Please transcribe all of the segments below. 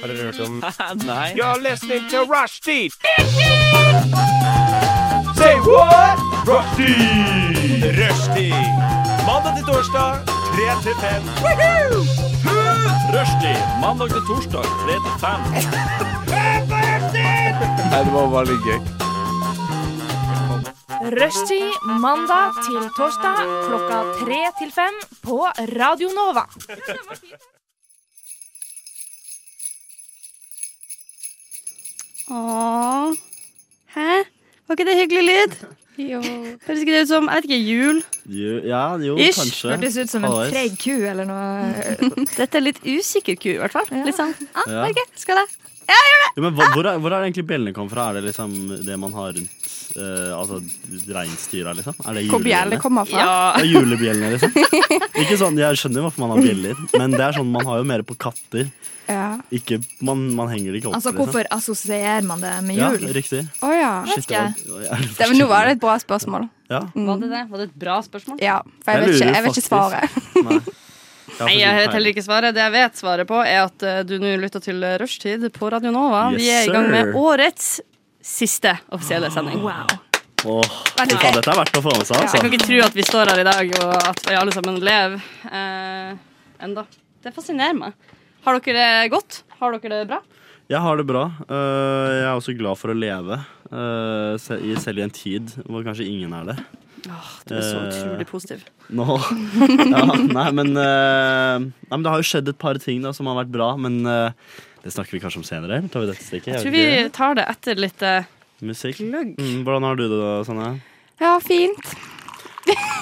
Har dere hørt om Nei. You're listening to Rushdie! Say what? Rushdie! Rushdie! Mandag til torsdag, 3 til 5. Rushdie! Mandag til torsdag, 3 til 5. Nei, det var bare litt gøy. Rushtid mandag til torsdag klokka tre til fem på Radio Nova. Åh. Hæ? Var ikke det hyggelig lyd? Jo. Høres ikke det ut som jeg vet ikke, jul? Jo, ja, jo, Ish, kanskje. Hørtes ut som en Halvveis. treig ku eller noe. Dette er litt usikker ku, i hvert fall. Litt sånn ah, Ja. Norge, skal jeg? Jo, men hva, hvor, er, hvor er det egentlig bjellene kommet fra? Er det liksom det man har rundt eh, altså, reinsdyra, liksom? Er det Hvor julebjellene? bjellene kommer fra. Det er julebjellene, liksom. Ikke sånn, Jeg skjønner hvorfor man har bjeller, men det er sånn man har jo mer på katter. Ja. Ikke, man, man henger det ikke opp. Altså, hvorfor assosierer man det med liksom. jul? Ja, riktig. Å ja. Shit, det var- ja, det Det, men nå var det et bra spørsmål. Ja. Mm. Var det det? Var det et bra spørsmål? Ja, for Jeg jeg vet ikke, lurer jeg vet ikke faktisk. svaret. Nei. Nei, jeg vet heller ikke svaret. Det jeg vet svaret på, er at eh, du nå lytter til Rushtid på Radio Nova. Yes, Vi er i gang med sir. Ah. årets siste offisielle sending. Åh, fy faen, dette er verdt å få med seg, Så jeg kan altså. ikke tro at vi står her i dag, og at vi alle sammen lever eh, enda. Det fascinerer meg. Har dere det godt? Har dere det bra? Jeg har det bra. Eh, Jeg er også glad for å leve, eh, se- i- selv i en tid hvor kanskje ingen er det. Du er så Eh, utrolig positiv. Nå ja, nei, men, eh, nei, men det har jo skjedd et par ting da, som har vært bra, men eh, det snakker vi kanskje om senere. eller Tar vi dette stikket? Jeg Jeg tror vi vet ikke. tar det etter litt eh, Musikk. gløgg. Mm, hvordan har du det da, Sanne? Ja, fint.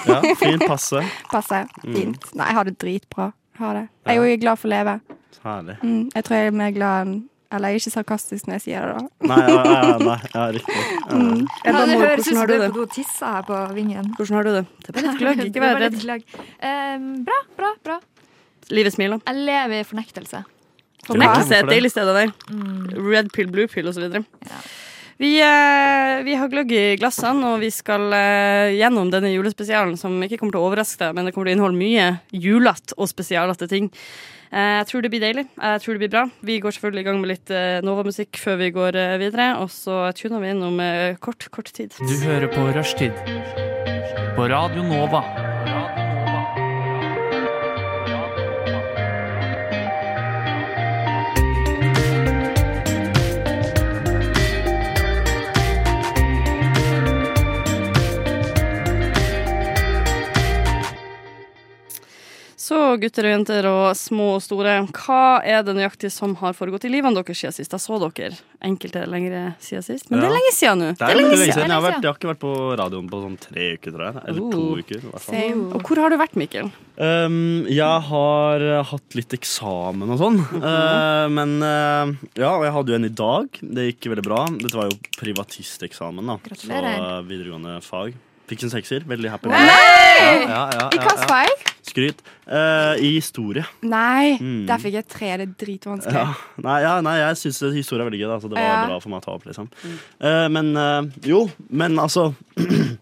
Ja, fint passe. Passe. Fint. Nei, jeg har det dritbra. Jeg Har det. Mm. Jeg Ja. er jo glad for å leve. Herlig. Mm, jeg tror jeg er mer glad enn Eller jeg er ikke sarkastisk når jeg sier det, da. Nei, ja, ja, ja, nei, ja riktig. Eh, Ja, det høres ut som du er det? på do og tisser her på vingen. Hvordan har du det? Det er bare litt gløgg, ikke vær redd. Ehm, bra, bra, bra. Livet smiler. Jeg lever i fornektelse. Fornektelse er Hvorfor et det? deilig sted å være. Red pill, blue pill osv. Vi, eh, vi har gløgg i glassene, og vi skal eh, gjennom denne julespesialen, som ikke kommer til å overraske deg, men det kommer til å inneholde mye julete og spesialete ting. Eh, jeg tror det blir deilig. Jeg tror det blir bra. Vi går selvfølgelig i gang med litt eh, Nova-musikk før vi går eh, videre, og så tuner vi inn om eh, kort, kort tid. Du hører på Rushtid på Radio Nova. Så gutter og jenter og små og store, hva er det nøyaktig som har foregått i livene deres siden sist? Jeg så dere enkelte lengre siden sist, men det er Ja. lenge siden nå. Det er veldig lenge siden. siden. Jeg har, vært, jeg har ikke vært på radioen på sånn tre uker, tror jeg. Eller to Oh. uker. i hvert fall. Same. Og hvor har du vært, Mikkel? Um, jeg har eh, hatt litt eksamen og sånn. Mhm. Eh, men eh, ja, og jeg hadde jo en i dag. Det gikk veldig bra. Dette var jo privatisteksamen, da. Så Gratulerer. eh, videregående fag. Fikk en sekser. Veldig happy. med det. Nei! Ja, ja, I ja, hva ja. fag? Skryt. Eh, I historie. Nei, Mm. der fikk jeg tre. Det er dritvanskelig. Ja. Nei, ja, nei, jeg syns historie er veldig gøy, da, så det var Ja. bra for meg å ta opp. liksom Eh, Men eh, jo, men altså Det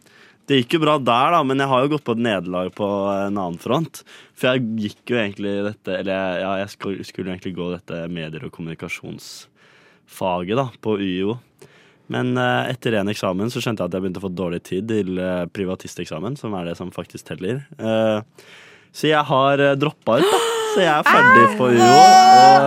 gikk jo bra der, da, men jeg har jo gått på et nederlag på en annen front. For jeg gikk jo egentlig dette Eller jeg- ja, jeg skulle skulle egentlig gå dette medier- og kommunikasjonsfaget da, på UiO. Men eh, etter en eksamen så skjønte jeg at jeg begynte å få dårlig tid til eh, privatisteksamen, som er det som faktisk teller. Eh, så jeg har uh, droppa ut, da. Så jeg er ferdig på UiO. Og Ah, eh,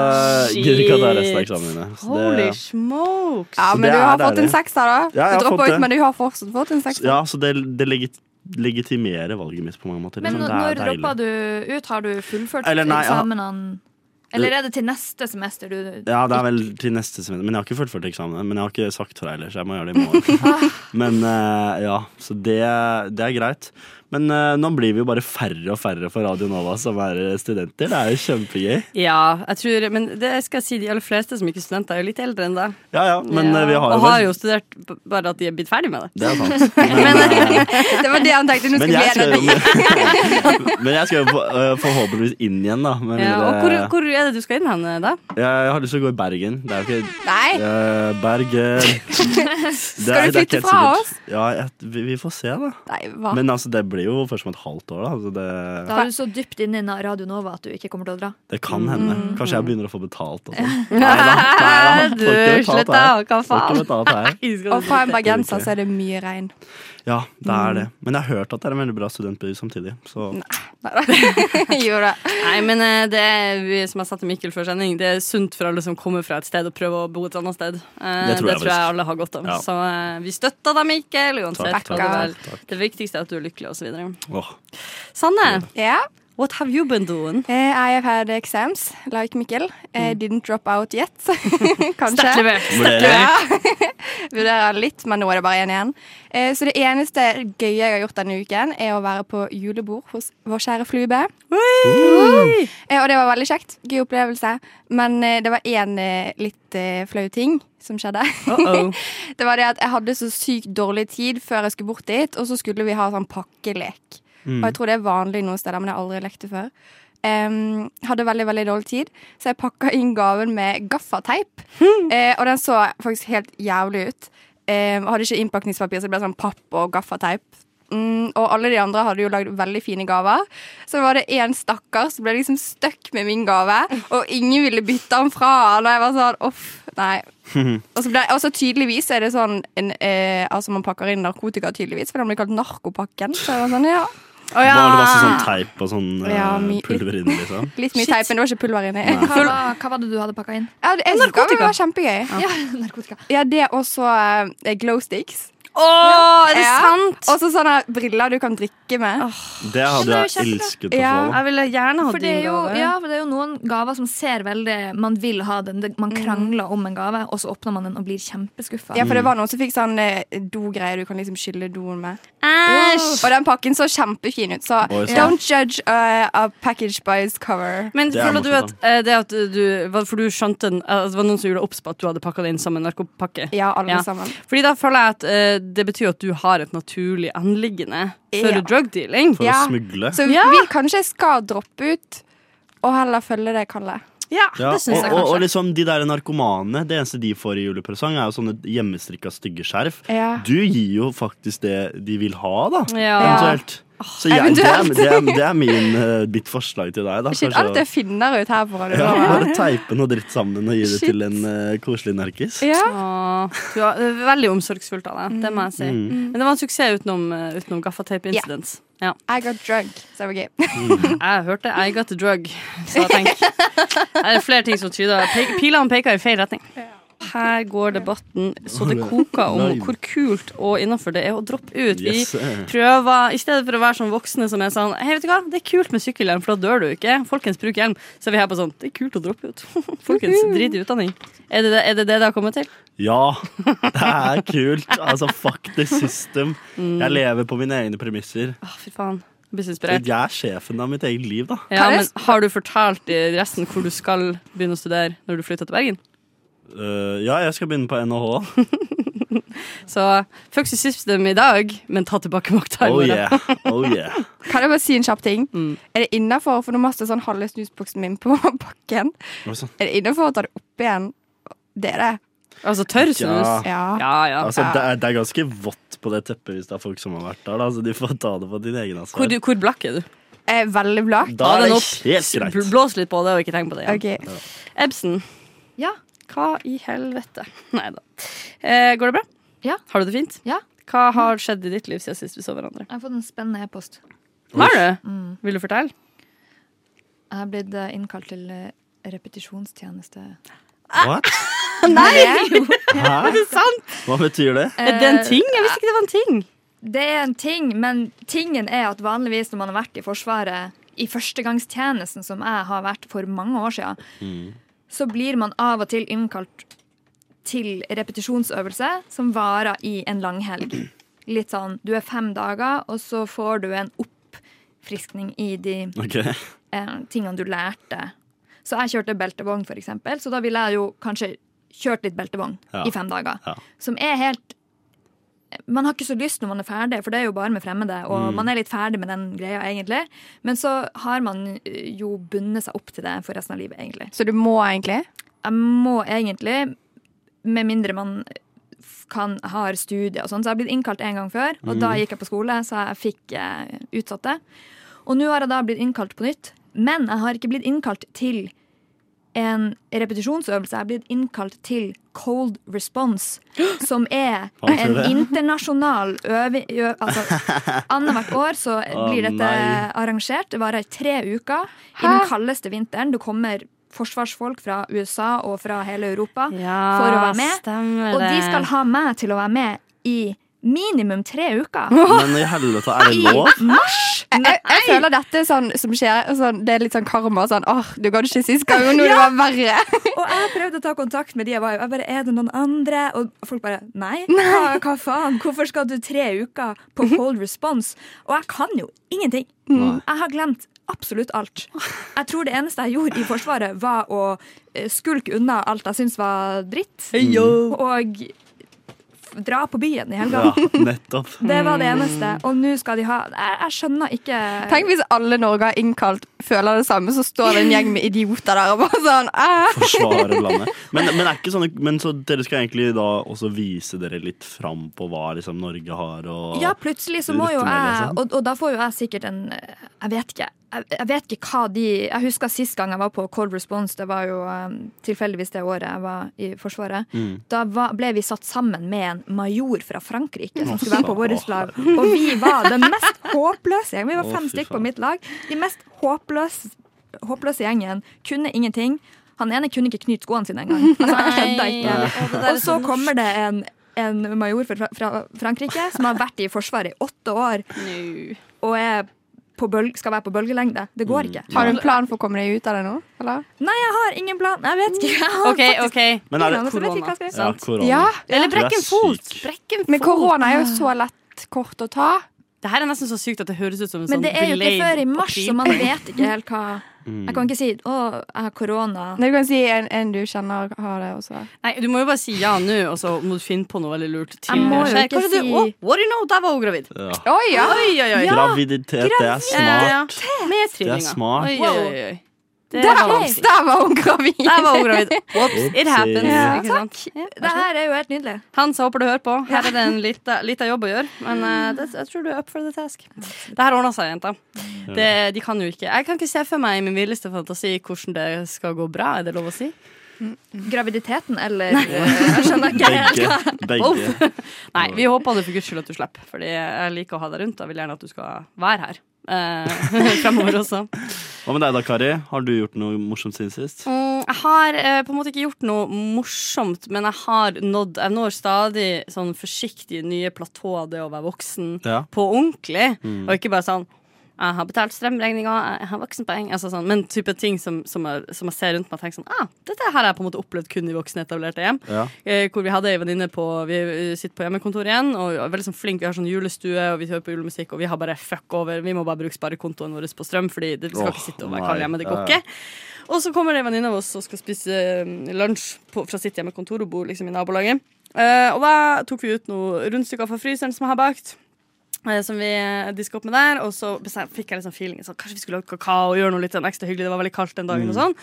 Shit. gidder ikke å ta resten av eksamene. Så Holy det- smokes! Ja, Så men det du er har der, fått en det. sekser, da. Ja, jeg du har fått droppa ut, det. men du har fortsatt fått en sekser. Ja, så det, det legit, legitimerer valget mitt på mange måter. Men liksom. Det når, er når deilig. droppa du ut? Har du fullført Eller nei, jeg har- eksamenene? Eller er det til neste semester du Ja, det er vel til neste semester. Men jeg har ikke fullført eksamen. Men jeg har ikke sagt fra heller, så jeg må gjøre det i morgen. men eh, ja, så det, det er greit. Men eh, nå blir vi jo bare færre og færre for Radio Nova som er eh, studenter. Det er jo kjempegøy. Ja, jeg tror, men det skal jeg si, de aller fleste som ikke er studenter, er jo litt eldre enn deg. Ja ja, men eh, vi har jo og har jo studert b- bare at de er blitt ferdig med det. Det er sant. eh, Det var det han tenkte. Nå Men skulle jeg jeg skal jo, men jeg skal jo for- eh, forhåpentligvis inn igjen, da. Med Ja, mindre- og hvor, hvor er er det du skal inn hen, eh, da? Jeg, jeg har lyst til å gå i Bergen. Det er jo ikke Nei! eh, Bergen Skal Skal du flytte fra oss? Ja, jeg, vi, vi får se, da. Nei, hva? Men altså, det blir jo først om et halvt år, da. Altså, det, Da er du så dypt inne i Radio Nova at du ikke kommer til å dra. det kan Mm. hende. Kanskje jeg begynner å få betalt og sånn. Får Nei, ikke betalt slett her. av, hva Får ikke faen? betalt her. Og fra en bergenser Ok. så er det mye regn. Ja, det er Mm. det. Men jeg har hørt at det er en veldig bra studentby samtidig. Så Gjør det. Nei, men eh, det er, vi- som jeg sa til Mikkel før sending, det er sunt for alle som kommer fra et sted og prøver å bo et annet sted. Eh, Det tror jeg faktisk. alle har godt av. Ja. Så eh, vi støtter deg, Mikkel, uansett. takk, takk, hva det er. takk, takk. Det viktigste er at du er lykkelig, osv. Åh. Sanne, Ja. what have you been doing? Eh, I have had exams, like Mikkel. I didn't drop out yet. Sterkt Kanskje. levert. Vurderer. Vurderer litt, men nå er det bare én igjen. Eh, Så det eneste gøye jeg har gjort denne uken, er å være på julebord hos vår kjære Flube. Eh, Og det var veldig kjekt. Gøy opplevelse. Men eh, det var én eh, litt eh, flau ting som skjedde. Uh-oh. Det var det at jeg hadde så sykt dårlig tid før jeg skulle bort dit, og så skulle vi ha sånn pakkelek. Og jeg tror det er vanlig noen steder, men jeg har aldri lekt det før. Em, hadde veldig veldig dårlig tid, så jeg pakka inn gaven med gaffateip. Eh, og den så faktisk helt jævlig ut. Um, hadde ikke innpakningspapir, så det ble sånn papp og gaffateip. Mm, og alle de andre hadde jo lagd veldig fine gaver. Så var det én stakkar som ble liksom stuck med min gave, og ingen ville bytte den fra han. Og jeg var sånn uff, nei. Og så ble, og så tydeligvis er det sånn en, eh, Altså man pakker inn narkotika tydeligvis For den blir kalt narkopakken Så jeg var sånn, ja Bare det var sånn teip og sånn eh, Ja, my- pulver inni, liksom. Litt mye teip, men det var ikke pulver inni Hva var, hva var det du hadde pakka inn? ja, det- Jeg synes det var kjempegøy Ja, narkotika. Ja, det og så eh, glow sticks Å, er det Ja. sant? Og så sånne briller du kan drikke med Det hadde Men det er jeg jo elsket å Ja. få. Jeg ville gjerne hatt For det, din er jo, gave. ja, for det er jo noen gaver som ser veldig Man vil ha den. det- Mm. Man krangler om en gave, og så åpner man den og blir kjempeskuffa. Ja, for Mm. det var noen som fikk sånn eh, do-greier Du kan liksom skylle doen med Æsj! Og den pakken så kjempefin ut Så Oi, sant. don't judge eh, a package by its cover Men Det er føler du at morsomt, eh, det at du var- For du skjønte den, eh, det var noen som gjorde obs på at du hadde pakka det inn som en narkopakke? Ja, alle Ja. sammen Fordi da føler jeg at eh, det betyr at du har et naturlig anliggende for Ja. drug dealing. For Ja. å smugle. Så Ja. vi kanskje skal droppe ut Og heller følge det, Kalle Ja, Ja, det syns og, jeg og, kanskje. og liksom de der narkomane, det eneste de får i julepresang, er jo sånne hjemmestrikka stygge skjerf. Ja. Du gir jo faktisk det de vil ha, da. ja. Eventuelt. Så jeg, det, er, eventuelt. det, er, det er min, eh, mitt forslag til deg, da. Shit, Kanskje å- alt jeg finner ut her på ja, radioen. bare teipe noe dritt sammen og gi det Shit. til en eh, koselig narkis. Ja. Åh, du var veldig omsorgsfullt av deg, det må jeg si. Mm. Men det var en suksess utenom, eh, utenom gaffateip incidents. Mm. Ja. I got drunk, så det var gøy. Jeg hørte I got the drug, så jeg tenker Det er flere ting som tyder pe- Pilene peker i feil retning. Her går debatten så det koker om hvor kult og innafor det er å droppe ut. Vi Yes. eh. prøver, I stedet for å være sånn voksne som er sånn Hei, vet du hva, det er kult med sykkelhjelm, for da dør du ikke. Folkens, bruk hjelm. Så er vi her på sånn Det er kult å droppe ut. Folkens, drit i utdanning. Er det det, er det, det det har kommet til? Ja, det er kult. Altså, fuck the system. Mm. Jeg lever på mine egne premisser. Å, fy faen. Jeg blir så inspirert. Jeg er sjefen av mitt eget liv, da. Ja, men har du fortalt i resten hvor du skal begynne å studere når du flytter til Bergen? Eh, ja, jeg skal begynne på NHH. Så fuck the system i dag, men ta tilbake makta i Oh morgen. yeah. Oh yeah. Kan jeg bare si en kjapp ting? Er det innafor, for nå master sånn halve snusboksen min på bakken, Oi, sann. er det innafor å ta det opp igjen? Det er det. Altså tørr Ja. snus. Ja. Ja, ja. Altså, det, er, det er ganske vått på det teppet hvis det er folk som har vært der. Da. Så de får ta det på din egen Hvor, ansvar. du, hvor blakk er du? Jeg er veldig blakk. Da Ta er den det opp. helt greit. Bl- Blås litt på det og ikke tenk på det. Ja. OK. Ebsen, Ja. hva i helvete? Nei da. Eh, går det bra? Ja. Har du det fint? Ja. Hva har skjedd i ditt liv siden sist vi så hverandre? Jeg har fått en spennende e-post. Har du? Mm. Vil du fortelle? Jeg har blitt eh, innkalt til eh, repetisjonstjeneste. What? Hæ? Er det sant? Hva betyr det? Er det Eh, en ting? Jeg visste ikke det var en ting. Det er en ting, men tingen er at vanligvis når man har vært i Forsvaret, i førstegangstjenesten som jeg har vært for mange år siden, så blir man av og til innkalt til repetisjonsøvelse som varer i en langhelg. Litt sånn du er fem dager, og så får du en oppfriskning i de Ok, eh, tingene du lærte. Så jeg kjørte beltevogn, for eksempel, så da ville jeg jo kanskje kjørt litt beltevogn Ja. i fem dager. Ja. Som er helt man har ikke så lyst når man er ferdig, for det er jo bare med fremmede. Og Mm. man er litt ferdig med den greia, egentlig. Men så har man eh, jo bundet seg opp til det for resten av livet, egentlig. Så du må egentlig? Jeg må egentlig, med mindre man f- kan, har studier og sånn, så jeg har blitt innkalt en gang før, og Mhm. da gikk jeg på skole, så jeg fikk eh, utsatt det. Og nå har jeg da blitt innkalt på nytt, men jeg har ikke blitt innkalt til en repetisjonsøvelse. Jeg er blitt innkalt til Cold Response, som er Faen, ser du en det? internasjonal øving ø- Altså, annethvert år så Å, blir dette nei. arrangert. Det varer i tre uker i den kaldeste vinteren. Det kommer forsvarsfolk fra USA og fra hele Europa for å være med. stemmer Og de skal ha meg til å være med i minimum tre uker. Men i helvete, er det lov? I mars! Jeg, jeg, jeg føler dette er sånn som skjer sånn, Det er litt sånn karma. Sånn, åh, du gadd ikke sist gang, og nå det var verre. Og jeg prøvde å ta kontakt med de jeg var i. Jeg bare, er det noen andre? Og folk bare nei. Hva, hva faen? Hvorfor skal du tre uker på cold response? Og jeg kan jo ingenting. Jeg har glemt absolutt alt. Jeg tror det eneste jeg gjorde i Forsvaret, var å eh, skulke unna alt jeg syntes var dritt, og f- dra på byen i helga. Ja, nettopp. Det var det eneste. Og nå skal de ha Jeg, jeg skjønner ikke Tenk hvis alle Norge har innkalt føler det samme, så står det en gjeng med idioter der og bare sånn æ. Forsvare landet. Men, men, er ikke sånne, men så dere skal egentlig da også vise dere litt fram på hva liksom Norge har og Ja, plutselig så må jo Rutemedie jeg og sånn. og, og da får jo jeg sikkert en eh, Jeg vet ikke. Jeg, jeg vet ikke hva de Jeg husker sist gang jeg var på Cold Response, det var jo eh, tilfeldigvis det året jeg var i Forsvaret. Mm. Da var, ble vi satt sammen med en major fra Frankrike som skulle være på vårt lag. Og vi var den mest håpløse gjengen. Vi var Å, fem fy stykk på faen. mitt lag. De mest håpløse, håpløse gjengen kunne ingenting. Han ene kunne ikke knyte skoene sine engang. Altså, han skjønte ikke. Og så sånn- kommer det en, en major fra, fra Frankrike som har vært i Forsvaret i åtte år og er på bølg, skal være på bølgelengde. Det går Mm. ikke. Har du en plan for å komme deg ut av det nå? Eller? Nei, jeg har ingen plan. Jeg vet ikke. Jeg har OK, OK. Men er det faktisk ingen plan, så jeg vet ikke hva jeg skal ja, gjøre. korona? Ja. Eller brekk Du er en fot. syk. Brekk en Men fot. korona er jo så lett kort å ta. Det her er nesten så sykt at det høres ut som en Men sånn det er jo ikke delayed før i mars, appeal. så man vet ikke helt hva Mm. Jeg kan ikke si 'Å, jeg har korona'. Nei, Du kan si en, en du kjenner har det også. Nei, du må jo bare si ja nå, og så må du finne på noe veldig lurt. til Jeg må det jo skjer. ikke Kanskje du, si- Å, what do you know, der var hun gravid. Ja. Oi, ja. Oi, oi, oi. Graviditet, det er smart. Med Det trillinger. er smart. Oi, oi, oi, oi. Det Der, var var- vanskelig. der var hun gravid. Der var hun gravid. Whoops, Oopsie. it happens. Ja, ikke sant? Det her er jo helt nydelig. Hans, jeg håper du hører på. Her er det en lita, lita jobb å gjøre. Men Mm. eh, det, jeg tror du er up for the task. Det her ordner seg, jenta. Det, de kan jo ikke. Jeg kan ikke se for meg i min villeste fantasi hvordan det skal gå bra. Er det lov å si? Graviditeten eller Jeg skjønner ikke. Begge. Begge. Nei, vi håper du for guds skyld at du slipper. Fordi jeg liker å ha deg rundt. Jeg vil gjerne at du skal være her. eh, fremover også. Hva med deg da, Kari? Har du gjort noe morsomt siden sist? Mm, jeg har eh, på en måte ikke gjort noe morsomt, men jeg har nådd Jeg når stadig sånn forsiktig nye platåer, det å være voksen Ja. Mm. på ordentlig. Og ikke bare sånn jeg har betalt strømregninga, jeg har voksenpoeng. Altså sånn, men type ting som, som, jeg, som jeg ser rundt meg og tenker sånn ah, Dette her har jeg på en måte opplevd kun i voksenetablerte hjem. Ja. Eh, hvor vi hadde ei venninne på Vi eh, sitter på hjemmekontor igjen og er veldig sånn flink. Vi har sånn julestue, og vi hører på julemusikk, og vi har bare fuck over. Vi må bare bruke sparekontoen vår på strøm, fordi det vi skal Åh, ikke sitte og være nei. kalde hjemme. Det går Ja, ja. ikke. Og så kommer det en venninne av oss og skal spise eh, lunsj på, fra sitt hjemmekontor. Hun bor liksom i nabolaget. Eh, og da tok vi ut noen rundstykker fra fryseren som jeg har bakt. eh, Som vi eh, diska opp med der. Og så bestem- fikk jeg liksom feelingen sånn, kanskje vi skulle lage kakao og gjøre noe litt sånn ekstra hyggelig. Det var veldig kaldt den dagen. Mm. Og sånn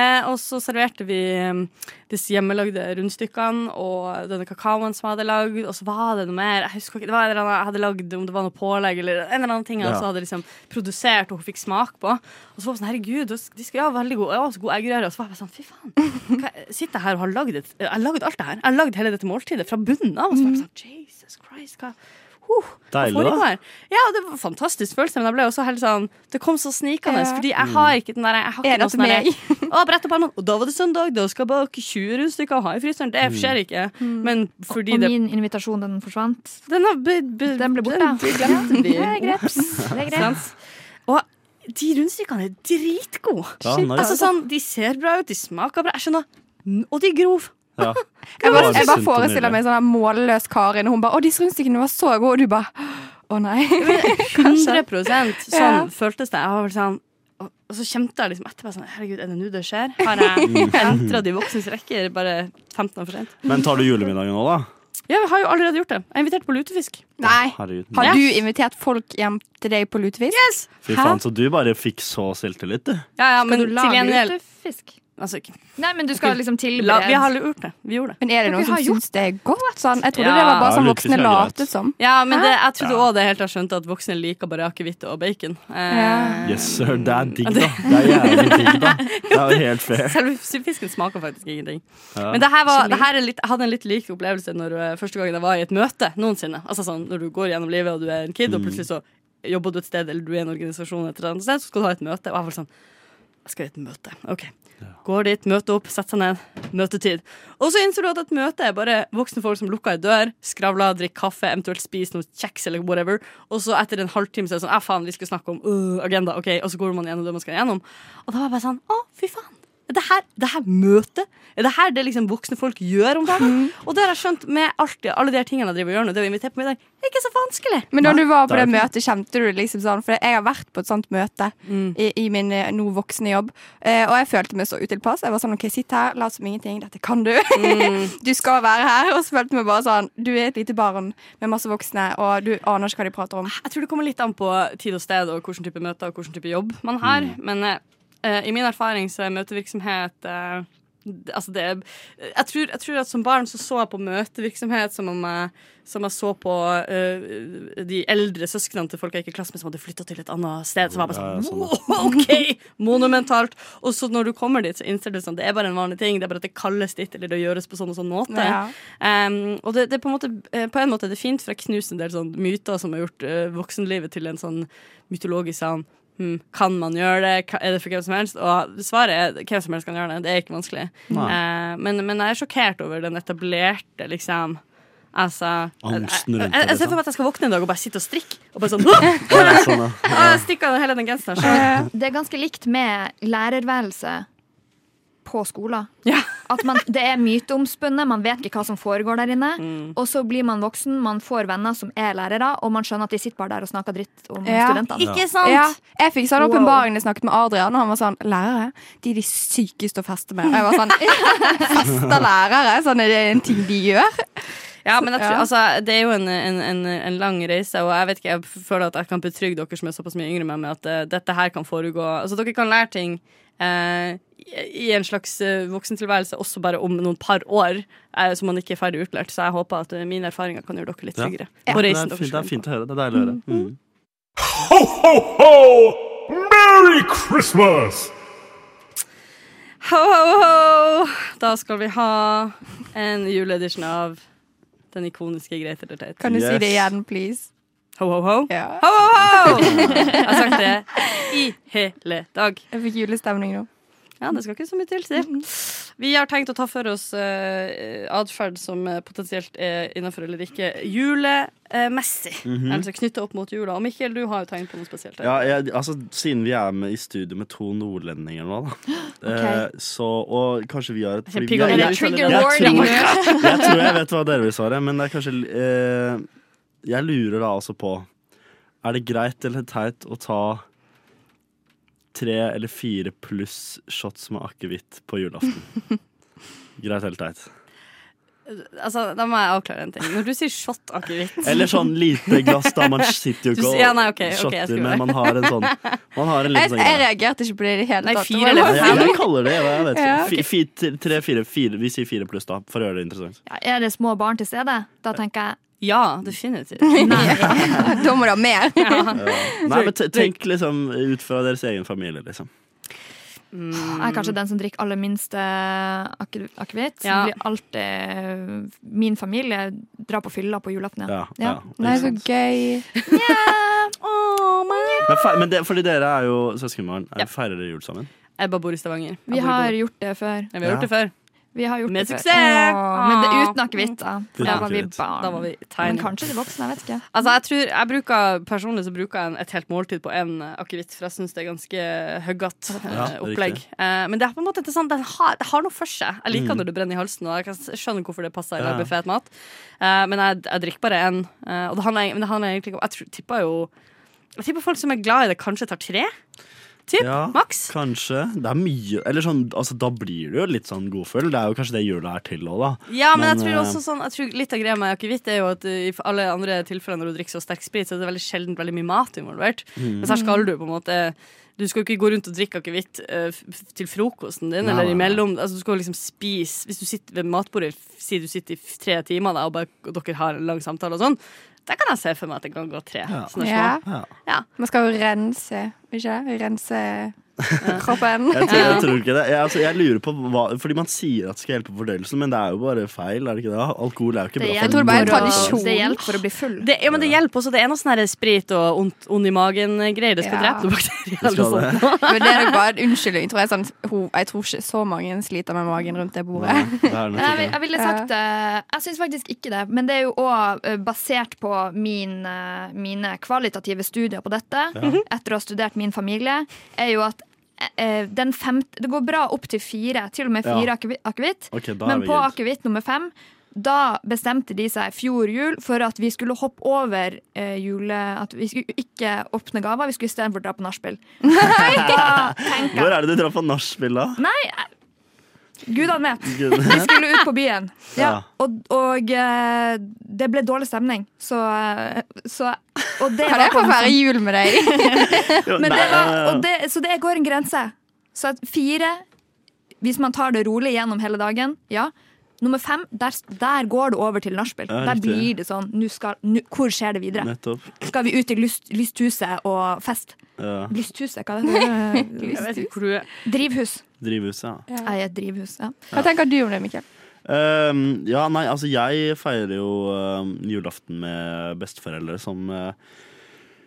eh, Og så serverte vi eh, disse hjemmelagde rundstykkene og denne kakaoen som jeg hadde lagd. Og så var det noe mer. Jeg husker ikke, det var en eller annen, jeg hadde lagd om det var noe pålegg eller en eller annen ting. jeg Ja. også hadde liksom produsert og hun fikk smak på. Og så var jeg sånn, herregud, de skal jo ha veldig gode, ja, så gode eggerører. Og så var jeg bare sånn, fy faen. hva- Sitter jeg her og har lagd et, jeg har lagd alt det her. Jeg har lagd hele dette måltidet fra bunnen av. Og så var jeg sånn, Jesus Christ, hva... Huh, hva Deilig, foregår da. her? Ja, det var en fantastisk følelse, men jeg ble også helt sånn Det kom så snikende, fordi jeg har ikke den der Jeg har ikke Er det noe til sånn der meg? Å, brett opp hånden. Og da var det søndag, da skal jeg bake 20 rundstykker og ha i fryseren. Det Mm. skjer ikke. Men fordi Mm. Og det min invitasjon, den forsvant. Den, har be- be- Den ble borte. Den glemte vi. Det er greps. Det er greps. Sant? Og de rundstykkene er dritgode. Ja, nice. altså, sånn, de ser bra ut, de smaker bra. Jeg skjønner. N- Og de er grov. Ja. Jeg bare, jeg Sunt bare og forestiller nydelig. meg sånn her målløs Karin, og hun bare 'Å, de rundstykkene var så gode', og du bare 'Å nei'. 100 sånn Ja. føltes det. Jeg var vel sånn og og så kjente jeg liksom etterpå sånn Herregud, er det nå det skjer? Har jeg entra de voksnes rekker bare 15 år for sent? Men tar du julemiddagen nå, da? Ja, vi har jo allerede gjort det. Jeg er invitert på lutefisk. Nei. Herregud. Har du invitert folk hjem til deg på lutefisk? Fy faen, så du bare fikk så selvtillit, du. Ja, ja, Skal men du til lage gjengjeld lutefisk? altså, ikke- Nei, men du skal liksom la, Vi har tilberede. gjort det. Vi gjorde det. Men er det Men vi noen som har gjort- syns det er godt? Sånn? Jeg trodde Ja. det var bare Ja, sånn lutefisk er voksne greit. latet som. Ja, men det, jeg trodde òg det helt til jeg skjønte at voksne liker bare akevitt og bacon. Eh, Yes, sir. Det er digg, da. Det er jævlig digg, da. Det er jo helt fair. Selve fisken smaker faktisk ingenting. Ja. Men det her var, det her er litt, jeg hadde en litt lik opplevelse når, eh, første gangen jeg var i et møte noensinne. Altså sånn, Når du går gjennom livet og du er en kid, og plutselig så jobber du et sted eller du er i en organisasjon, et eller annet sted, så skal du ha et møte. Og jeg var sånn Jeg skal i et møte. OK. Går dit, møter opp, setter seg ned. Møtetid. Og så innser du at et møte er bare voksne folk som lukker ei dør, skravler, drikker kaffe, eventuelt spiser noe kjeks eller whatever. Og så etter en halvtime så er det sånn Ja, faen, vi skal snakke om øh, agenda. OK. Og så går man gjennom det man skal gjennom. Og da var jeg bare sånn Å, fy faen. Det her, det her møtet, er det her det liksom voksne folk gjør om dagen? Og det har jeg skjønt med alt, det- alle de her tingene jeg driver og gjør nå, det å invitere på middag, det er ikke så vanskelig. Men når du var på det er det ikke møtet, kjente du det liksom sånn For jeg har vært på et sånt møte i, i min eh, nå voksne jobb, eh, og jeg følte meg så utilpass. Jeg var sånn OK, sitt her, lat som ingenting, dette kan du. du skal være her. Og så følte jeg meg bare sånn Du er et lite barn med masse voksne, og du aner ikke hva de prater om. sånn, Jeg tror det kommer litt an på tid og sted og hvilken type møter og hvilken type jobb man har. Mm. Men eh, eh, i min erfaring så er møtevirksomhet eh, d- Altså det er jeg tror, jeg tror at som barn så så jeg på møtevirksomhet som om jeg, som jeg så på eh, de eldre søsknene til folk jeg gikk i klasse med som hadde flytta til et annet sted. Så var jeg bare sånn, Ja, wow, OK! Monumentalt. Og så når du kommer dit, så innser du sånn, det er bare en vanlig ting. Det er bare at det kalles dit, eller det gjøres på sånn og sånn måte. Ja. Um, og det, det er på, en måte, eh, på en måte er det fint, for jeg knuser en del sånn myter som har gjort eh, voksenlivet til en sånn mytologisk sånn hm, Kan man gjøre det? Ka- Er det for hvem som helst? Og svaret er hvem som helst kan gjøre det. Det er ikke vanskelig. Eh, men, men jeg er sjokkert over den etablerte, liksom Altså Angsten jeg, rundt det, jeg, jeg ser liksom. for meg at jeg skal våkne en dag og bare sitte og strikke. Og bare sånn «Åh!» Ja, sånn, ja. Ah, Jeg stikker av hele den genseren. selv. Det er ganske likt med lærerværelse på skolen. Ja. At man, det er myteomspunnet, man vet ikke hva som foregår der inne. Mm. Og så blir man voksen, man får venner som er lærere, og man skjønner at de sitter bare der og snakker dritt om Ja. studentene. Ikke sant? Ja, jeg fikk sånn Wow. åpenbaring da jeg snakket med Adrian, og han var sånn Lærere, de er de sykeste å feste med. Og jeg var sånn Fester lærere? Sånn er det en ting de gjør? Ja, men jeg tror, Ja. altså, det er jo en, en, en, en lang reise, og jeg vet ikke, jeg føler at jeg kan betrygge dere som er såpass mye yngre enn meg, med at eh, dette her kan foregå. Altså, dere kan lære ting eh, i i en slags eh, voksentilværelse også bare om noen par år, eh, så man ikke er ferdig utlært. Så jeg håper at eh, mine erfaringer kan gjøre dere litt Ja. tryggere Ja, på Det reisen er deres. fint, det er fint å høre. Det er deilig å høre. Mm. Ho, ho, ho! Merry Christmas! Ho, ho, ho! Da skal vi ha en juleedition av den ikoniske Greit eller teit. Kan du si Yes. det igjen, please? Ho, ho, ho. Ja. Ho, ho, ho! Jeg har sagt det i hele dag. Jeg fikk julestemning nå. Ja, det skal ikke så mye til, si. Vi har tenkt å ta for oss uh, atferd som eh, potensielt er innafor eller ikke julemessig. Altså knytta opp mot jula. Og Mikkel, du har jo tegn på noe spesielt. her. Ja, jeg, altså Siden vi er med i studio med to nordlendinger nå, da. Eh, så, og kanskje vi har et Jeg fordi pigger vi meg har- Er det Jeg- trigger jeg- warning nå? Jeg tror jeg vet hva dere vil svare, men det er kanskje eh, Jeg lurer da altså på Er det greit eller teit å ta tre eller fire pluss shots med akevitt på julaften? Greit eller teit? Altså, da må jeg avklare en ting. Når du sier shot akevitt Eller sånn lite glass, da. Man sitter jo Du ikke og sier- ja, nei, ok, ok, jeg shotter, skulle- men man har en sånn Man har en Jeg, liten sånn jeg greie. reagerte ikke på det i det hele Nei, tatt. Det fire var eller bare- Jeg, jeg, jeg kaller det jeg vet. Ja, Fi, fi, tre, fire, fire. Vi sier fire pluss, da, for å gjøre det interessant. Ja, er det små barn til stede? Da tenker Ja, definitivt. jeg nei. Da må du ha mer. Nei, men te- Tenk liksom ut fra deres egen familie, liksom. Mm, Jeg er kanskje den som drikker aller minst eh, ake- akevitt. Ja. Blir alltid eh, Min familie drar på fylla på julaften. ja. Ja, Ja. Eh, ja, ikke Nei, så sant? gøy. Men, fe- men det, fordi dere er jo søskenbarn. Er- Feirer dere jul sammen? Ebba bor i Stavanger. Vi Jeg bor i har Bodø. gjort det før. ja, vi har gjort det før. Vi har gjort Med det før. suksess! Ah. Åh, men det er uten akevitt, da. For Uten da var vi akevitt. barn. Da var vi Men tiny. kanskje de voksne, jeg vet ikke. Altså, jeg tror, jeg bruker, personlig så bruker jeg en, et helt måltid på én akevitt, for jeg syns det er ganske høggete Ja, det er opplegg. riktig. Eh, men det er på en måte interessant. Den har, det har noe for seg. Jeg liker når det brenner i halsen, og jeg kan skjønne hvorfor det passer i Mm. Ja. ja. buffet mat. Eh, men jeg, jeg drikker bare én. eh, og det handler, men det handler egentlig ikke om Jeg tror, tipper jo jeg tipper folk som er glad i det, kanskje tar tre. Tipp. Ja, Maks. Kanskje. Det er mye Eller sånn, altså, da blir det jo litt sånn godføl. Det er jo kanskje det jula er til òg, da. Ja, men, Men, jeg tror eh, også sånn Jeg tror litt av greia med akevitt er jo at eh, i alle andre tilfeller når du drikker så sterk sprit, så er det veldig sjelden veldig mye mat involvert. Mm. Mens her skal du på en måte Du skal jo ikke gå rundt og drikke akevitt eh, f- f- til frokosten din Nei, eller nei, nei. imellom. Altså, du skal jo liksom spise Hvis du sitter ved matbordet, f- sier du sitter i f- tre timer, da, og, bare, og dere har en lang samtale og sånn, der kan jeg se for meg at det kan gå tre. Ja. Sånne små. Ja. Ja. Man skal jo rense, ikke det? Rense kroppen. Jeg tror, jeg tror ikke det. Jeg, altså, jeg lurer på hva Fordi man sier at det skal hjelpe på fordøyelsen, men det er jo bare feil. er det ikke det? Alkohol er jo ikke bra tror det bare er en for å- tradisjon. Det hjelper for å bli full. Det, ja, men det hjelper også. Det er noe sånn her sprit og ondt- ond i magen-greier. Det skal Ja. drepe noen bakterier. Det skal eller det. sånt. Men det er nok bare en unnskyldning. Tror jeg, sånn, ho, jeg tror ikke så mange sliter med magen rundt det bordet. Nei, det er nok Jeg, ikke vil- det. jeg ville sagt eh, Jeg syns faktisk ikke det. Men det er jo òg basert på min, eh, mine kvalitative studier på dette, Mhm. etter å ha studert min familie, er jo at eh, den femte Det går bra opp til fire, til og med Ja. fire akevi- akevitt. Ok, da er Men vi på good. akevitt nummer fem da bestemte de seg fjor jul for at vi skulle hoppe over eh, jule... At vi skulle ikke åpne gaver, vi skulle istedenfor dra på nachspiel. Da tenker jeg Hvor er det du drar på nachspiel, da? Nei, jeg- gudene vet. Gud. Vi skulle ut på byen. Ja. Ja. Og, og eh, det ble dårlig stemning, så, eh, så og det Kan var jeg få på- feire jul med deg? Jo, Men nei, eh, det var, ja, ja. og det, Så det går en grense. Så at fire Hvis man tar det rolig gjennom hele dagen, ja. Nummer fem, der, der går det over til nachspiel. Ja, der riktig. blir det sånn nå skal, nå, Hvor skjer det videre? Nettopp. Skal vi ut i lyst, lysthuset og fest? Ja. Lysthuset, hva heter det? Jeg vet ikke hvor du er. drivhus. Drivhuset, ja. Jeg er et drivhus, ja. Hva tenker du om det, Mikkel? Ehm, ja, nei, altså jeg feirer jo ehm, julaften med besteforeldre som eh,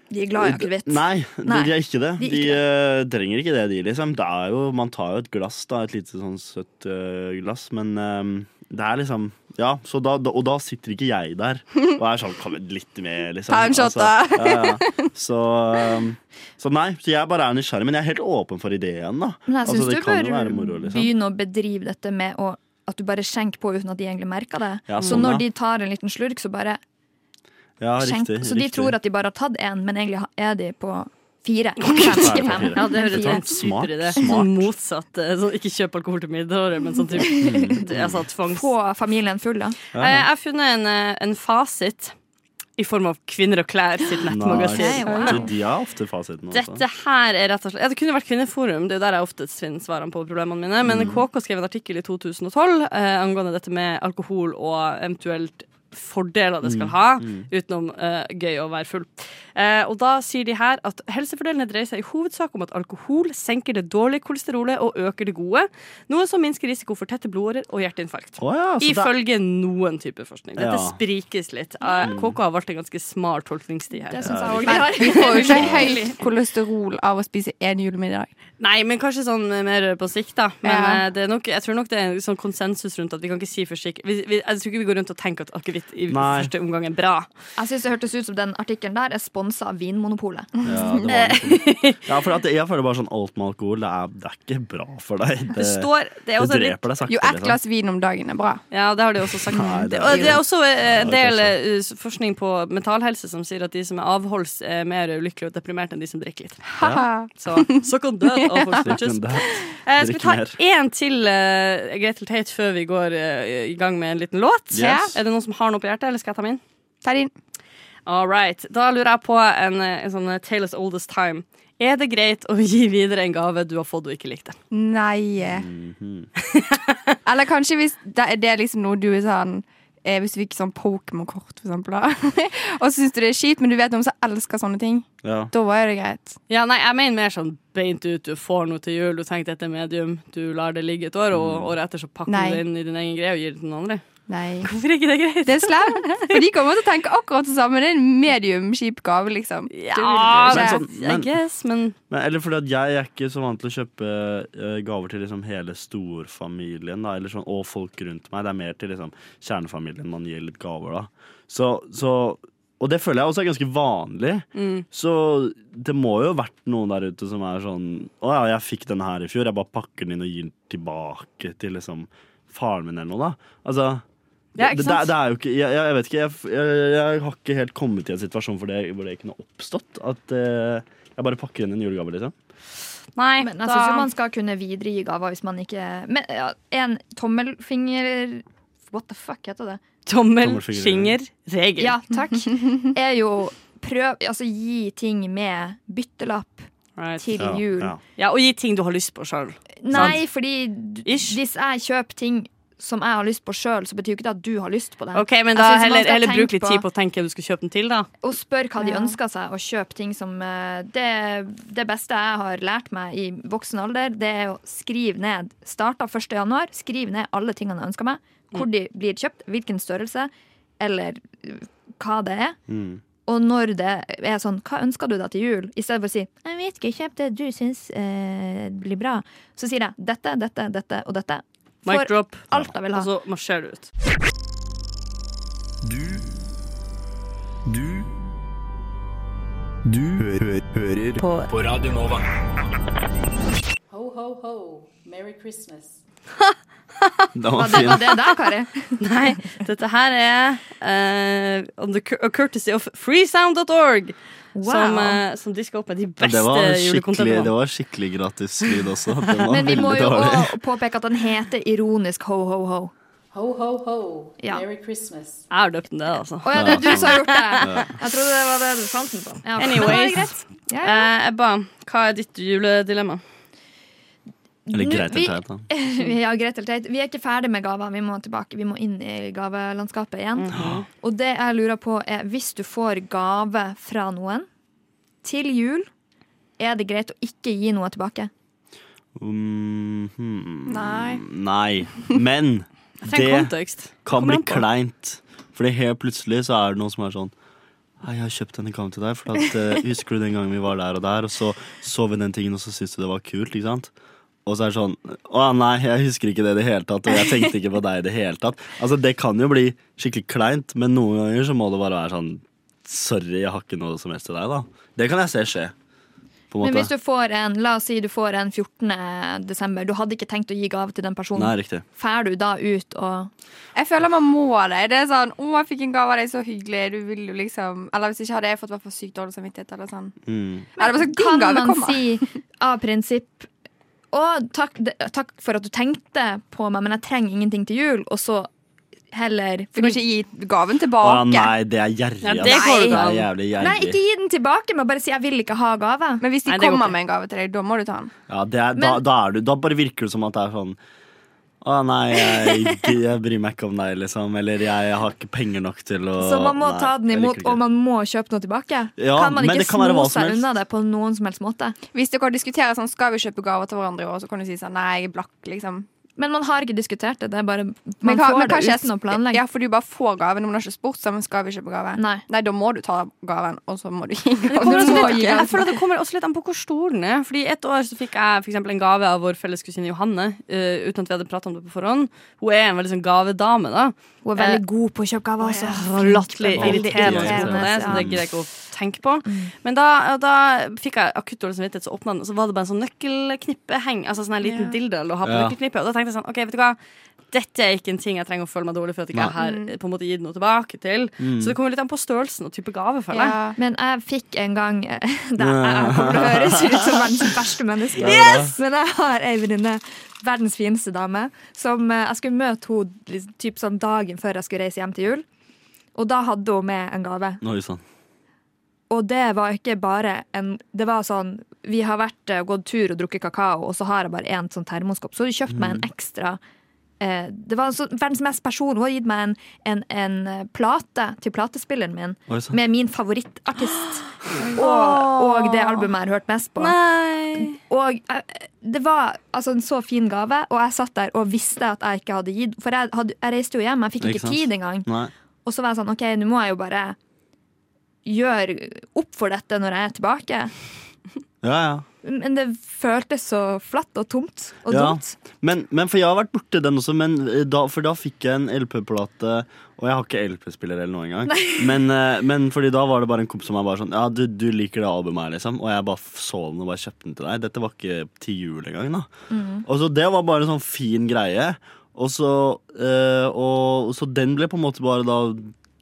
De er glad i akevitt. Nei, De, Nei, de er ikke det. de De, er ikke eh, trenger ikke det, de, liksom. Det er jo, man tar jo et glass, da, et lite sånn søtt eh, glass, men ehm, det er liksom Ja, så da, da, og da sitter ikke jeg der og er sånn Kom litt med, liksom. Ta en shot, da. ja, ja. Så, ehm, så nei, så jeg bare er nysgjerrig, men jeg er helt åpen for ideen, da. Men jeg syns Altså, det du kan jo bør være moro, liksom. begynne å bedrive dette med å, at du bare skjenker på uten at de egentlig merker det. Ja, så sånn, når ja. de tar en liten slurk, så bare Ja, skjenk. riktig, så de riktig. tror at de bare har tatt én, men egentlig er de på fire. Fem, på ikke fem. fire. Ja, det høres Fire. sånn Smart, super i det. smart. Sånn motsatt. eh, Sånn, ikke kjøp alkohol til middag, men sånn typ, altså, tvangs... Få familien full, da. Ja, Eh, ja. Jeg har funnet en, eh, en fasit i form av Kvinner og klær sitt Nice. nettmagasin. Wow. Så de har ofte fasiten. altså. Dette her er rett og slett ja, Det kunne vært Kvinneforum, det er jo der jeg oftest finner svarene på problemene mine. Men KK skrev en artikkel i 2012 eh, angående dette med alkohol og eventuelt fordeler det skal ha, utenom eh, gøy å være full. Eh, og da sier de her at helsefordelene dreier seg i hovedsak om at alkohol senker det dårlige kolesterolet og øker det gode, noe som minsker risiko for tette blodårer og hjerteinfarkt. Å ja, så det er- Ifølge noen type forskning. Dette Altså, Ja. sprikes litt. Eh, KK har valgt en ganske smal tolkningstid her. Det syns jeg òg de Men har. vi får jo ikke høyt kolesterol av å spise én julemiddag. Nei, men kanskje sånn eh, mer på sikt, da. Men Ja. eh, det er nok, jeg tror nok det er en sånn konsensus rundt at vi kan ikke si for sikkert vi, vi, Jeg tror ikke vi går rundt og tenker at akevitt i Nei. første omgang er bra. Jeg syns det hørtes ut som den artikkelen der er sponsa av Vinmonopolet. Ja, det var det. ja, for at jeg føler bare sånn alt med alkohol, det er, det er ikke bra for deg. Det, står det det er også litt- dreper deg sakte. Jo, ett liksom. glass vin om dagen er bra. Ja, det har de også sagt. Nei, det det, er og ikke det er også eh, en Ja, del det eh, s- forskning på mentalhelse som sier at de som er avholds, er mer ulykkelige og deprimerte enn de som drikker litt. Haha. Så suck on that, avholds bitches. Drikken der. Eh, skal vi ta Drikk én til eh, Gretel Tate før vi går eh, i gang med en liten låt? Yes. Er det noen som har noe på hjertet, eller skal jeg ta min? Ta det inn. All right. Da lurer jeg på en, eh, en sånn eh, tale as old as time. Er det greit å gi videre en gave du har fått og ikke likte? Nei. Eller kanskje hvis det er det liksom noe du er sånn eh, Hvis du fikk sånn Pokémon-kort, for eksempel, da. og så syns du det er kjipt, men du vet noen som elsker sånne ting, Ja. da er det greit. Ja, nei, jeg mener mer sånn beint ut. Du får noe til jul, du tenker dette er medium, du lar det ligge et år, Mm. og året etter så pakker Nei. du det inn i din egen greie og gir det til den andre. Nei. Hvorfor er ikke det greit? Det er slemt, for de kommer til å tenke akkurat det samme. Det er en medium kjip gave, liksom. Ja, Men det, sånn, men- I guess, men Men, eller fordi at jeg er ikke så vant til å kjøpe eh, gaver til liksom hele storfamilien da, eller sånn, og folk rundt meg. Det er mer til liksom, kjernefamilien man gir litt gaver. da. Så, så, og det føler jeg også er ganske vanlig. Mm. Så det må jo ha vært noen der ute som er sånn Å ja, jeg fikk den her i fjor. Jeg bare pakker den inn og gir den tilbake til liksom, faren min eller noe. da. Altså... Ja, ikke det, det, sant? det er jo ikke Jeg, jeg vet ikke. Jeg, jeg, jeg har ikke helt kommet i en situasjon for det, hvor det kunne oppstått. At eh, jeg bare pakker inn en julegave, liksom. Nei, Men jeg syns jo man skal kunne videregi gaver hvis man ikke Men ja, en tommelfinger What the fuck heter det? tommelfingerregel. Ja, takk. Er jo prøv Altså gi ting med byttelapp Right. til jul. Ja, Ja, og gi ting du har lyst på sjøl. Nei, fordi d- Ish. hvis jeg kjøper ting som jeg har lyst på sjøl, så betyr jo ikke det at du har lyst på det. Ok, men Jeg da synes man heller, skal heller tenke bruk litt på- tid på å tenke hvem du skal kjøpe den til, da. Og spør hva de Ja. ønsker seg, og kjøp ting som eh, det, det beste jeg har lært meg i voksen alder, det er å skrive ned Starta 1. januar, skriv ned alle tingene jeg ønsker meg. Hvor Mm. de blir kjøpt, hvilken størrelse, eller eh, hva det er. Mm. Og når det er sånn, hva ønsker du deg til jul? I stedet for å si 'jeg vet ikke, kjøp det du syns eh, blir bra', så sier jeg dette, dette, dette og dette. Mic For drop, alt jeg vil ha. og så marsjerer du ut. Du Du Du hø hø hører på. på Radio Nova. Ho, ho, ho. Merry Christmas. Den var Det fin. var det der, Kari. Nei, dette her er eh, On the cur- courtesy of freesound.org, som, eh, som disker opp med de Men beste Det var skikkelig, det julekonsertene. var skikkelig gratis lyd også. Den var Men vi må veldig jo dårlig. også påpeke at den heter ironisk ho, ho, ho. Ho, ho, ho. Ja. Merry Christmas. Jeg har døpt den, det, altså. Å ja, det er du som har gjort det. Jeg trodde det var det du fant den på. Ja, men da er det Anyways, greit. Ja, ja. eh, Ebba, hva er ditt juledilemma? Eller Nå- greit vi- eller teit, da. Ja, greit eller teit. Vi er ikke ferdig med gaver. Vi må tilbake. Vi må inn i gavelandskapet igjen. Mhm. Og det jeg lurer på, er hvis du får gave fra noen til jul, er det greit å ikke gi noe tilbake? Mm, hmm. Nei. Nei. Men Trenger det kontekst. kan Kommer bli an på. kleint. Fordi helt plutselig så er det noen som er sånn Hei, jeg har kjøpt denne gaven til deg, for at, eh, husker du den gangen vi var der og der, og så så vi den tingen, og så syntes du det var kult, ikke sant? Og så er det sånn Å nei, jeg husker ikke det i det hele tatt, og jeg tenkte ikke på deg i det hele tatt. Altså, det kan jo bli skikkelig kleint, men noen ganger så må det bare være sånn Sorry, jeg har ikke noe som helst til deg, da. Det kan jeg se skje. På en Men hvis måte. du får en, la oss si du får en 14. desember, du hadde ikke tenkt å gi gave til den Nei, personen. riktig. Fær du da ut og Jeg føler man må det. Det er sånn 'Å, jeg fikk en gave av deg, så hyggelig.' Du vil jo liksom Eller hvis ikke hadde jeg fått hvert fall sykt dårlig samvittighet eller sånn. Mm. Eller bare sånn, din kan gave man kommer. si av prinsipp Å, takk, det- takk for at du tenkte på meg, men jeg trenger ingenting til jul. Og så heller Du kan ikke gi gaven Å tilbake. nei, det er gjerrig. Ja, det ass. går jo det er ikke jævlig Nei, ikke gjerrig. gi den tilbake, men bare si 'jeg vil ikke ha gave'. Men hvis de Nei, det går kommer ikke. med en gave til deg, da må du ta den. Ja, det er, da, Men- da, er du, da bare virker det som at det er sånn Å nei, jeg, jeg bryr meg ikke om deg, liksom. Eller jeg har ikke penger nok til å Så man må Nei, ta den jeg imot, liker det og man må kjøpe noe tilbake. Ja, kan man men ikke det kan være sno hva som seg helst. unna det på noen som helst måte. Hvis dere diskuterer sånn 'Skal vi kjøpe gaver til hverandre i år?' Så kan du si sånn 'Nei, jeg er blakk', liksom. Men man har ikke diskutert det. det er bare, man Men hva- får men det kanskje jeg- uten å planlegge. Ja, for du bare får gaven, men du har ikke spurt sammen. Skal vi kjøpe gave? Nei. da må du ta gaven, og så må du gi det gaven. kommer Du også må litt- gi Ja. gaven. Jeg føler at Det kommer også litt an på hvor stor den er. Fordi Et år så fikk jeg for eksempel en gave av vår felles kusine Johanne. eh, uten at vi hadde pratet om det på forhånd Hun er en veldig sånn gavedame. da Hun er veldig god på Eh, å kjøpe gaver også. altså. Latterlig Veldig irriterende. irriterende, det, så det ja. gidder jeg ikke å tenke på. Men da, da fikk jeg akutt dårlig samvittighet, så åpna den, og så var det bare en sånn nøkkelknippeheng. Altså sånn en liten dildo å ha på Ja. nøkkelknippet. Og da tenkte jeg sånn, ok, vet du hva. Dette er ikke en ting jeg trenger å føle meg dårlig for at ikke jeg har eh, på en måte gitt noe tilbake til. Mm. Så det kommer litt an på størrelsen og type gave, føler jeg. Ja. Men jeg fikk en gang Det jeg kommer til å høres ut som verdens verste menneske. Men jeg har ei venninne, verdens fineste dame, som eh, jeg skulle møte henne liksom, typ sånn dagen før jeg skulle reise hjem til jul. Og da hadde hun med en gave. Nå er det sånn. Og det var ikke bare en Det var sånn Vi har vært eh, gått tur og drukket kakao, og så har jeg bare én sånn termoskopp. Så har de kjøpt meg Mm. en ekstra eh, Det var så, verdens mest person. Hun har gitt meg en, en, en eh, plate til platespilleren min Oi, sånn. med min favorittartist. Og, og det albumet jeg har hørt mest på. Og eh, det var altså en så fin gave, og jeg satt der og visste at jeg ikke hadde gitt. For jeg, hadde, jeg reiste jo hjem, jeg fikk Ikke ikke, sant? tid engang. Nei. Og så var jeg sånn, ok, nå må jeg jo bare gjøre opp for dette når jeg er tilbake. Ja, ja. Men det føltes så flatt og tomt og Ja. dumt. Men, men for jeg har vært borti den også, men eh, da, for da fikk jeg en LP-plate. Og jeg har ikke LP-spiller eller noe engang. Men, eh, men fordi da var det bare en komp som var bare sånn Ja, du, du liker det albumet her, liksom. Og jeg bare f- så den og bare kjøpte den til deg. Dette var ikke til jul engang, da. Og så det var bare en sånn fin greie. Og så, eh, og, og så den ble på en måte bare da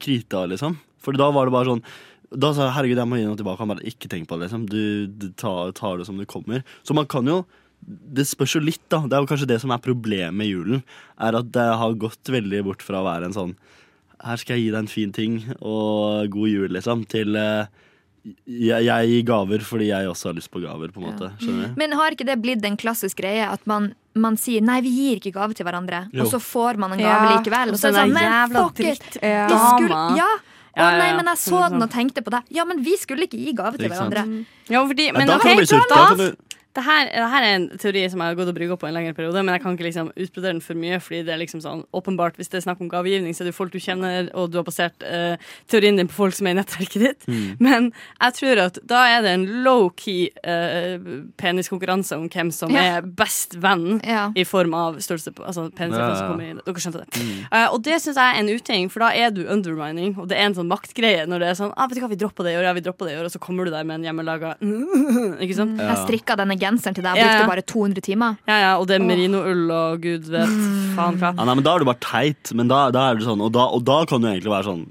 krita, liksom. For da var det bare sånn Da sa jeg herregud, jeg må gi noe tilbake. Han bare ikke tenk på det, liksom. Du, du tar, tar det som det kommer. Så man kan jo Det spørs jo litt, da. Det er jo kanskje det som er problemet med julen. Er at det har gått veldig bort fra å være en sånn Her skal jeg gi deg en fin ting og god jul, liksom, til eh, jeg, jeg gir gaver fordi jeg også har lyst på gaver, på en måte. Skjønner du? Men har ikke det blitt en klassisk greie at man, man sier nei, vi gir ikke gave til hverandre, Jo. og så får man en gave Ja, likevel? og Og så så er det den sånn, men jævla eh, fuck it! Ja. Vi skulle, Dama. ja. Å Ja, ja, nei, ja. men jeg så den og tenkte på deg. Ja, men vi skulle ikke gi gave til Ikke sant? Mm. hverandre. Ja, fordi, men, da ok, kan du bli sur. Da kan du det her, det her er en teori som jeg har gått og brygga på en lengre periode, men jeg kan ikke liksom utbrodere den for mye. fordi det er liksom sånn, åpenbart, Hvis det er snakk om gavegivning, så er det jo folk du kjenner, og du har basert eh, teorien din på folk som er i nettverket ditt. Men jeg tror at da er det en low-key eh, peniskonkurranse om hvem som Ja. er best venn Ja. i form av størrelse på altså penis. Ja, ja, ja. som kommer i- Dere skjønte det. Eh, og det syns jeg er en uting, for da er du undermining, og det er en sånn maktgreie når det er sånn ah, vet du hva, vi dropper det i år, ja, vi dropper det i år, og så kommer du der med en hjemmelaga Ikke sant? Jeg strikka denne genseren til Ja, deg, jeg ja. brukte bare 200 timer. Ja, ja, og det er merinoull og gud vet faen hva. Ja, nei, men Da er du bare teit. Men da, da er det sånn, og, da, og da kan du egentlig være sånn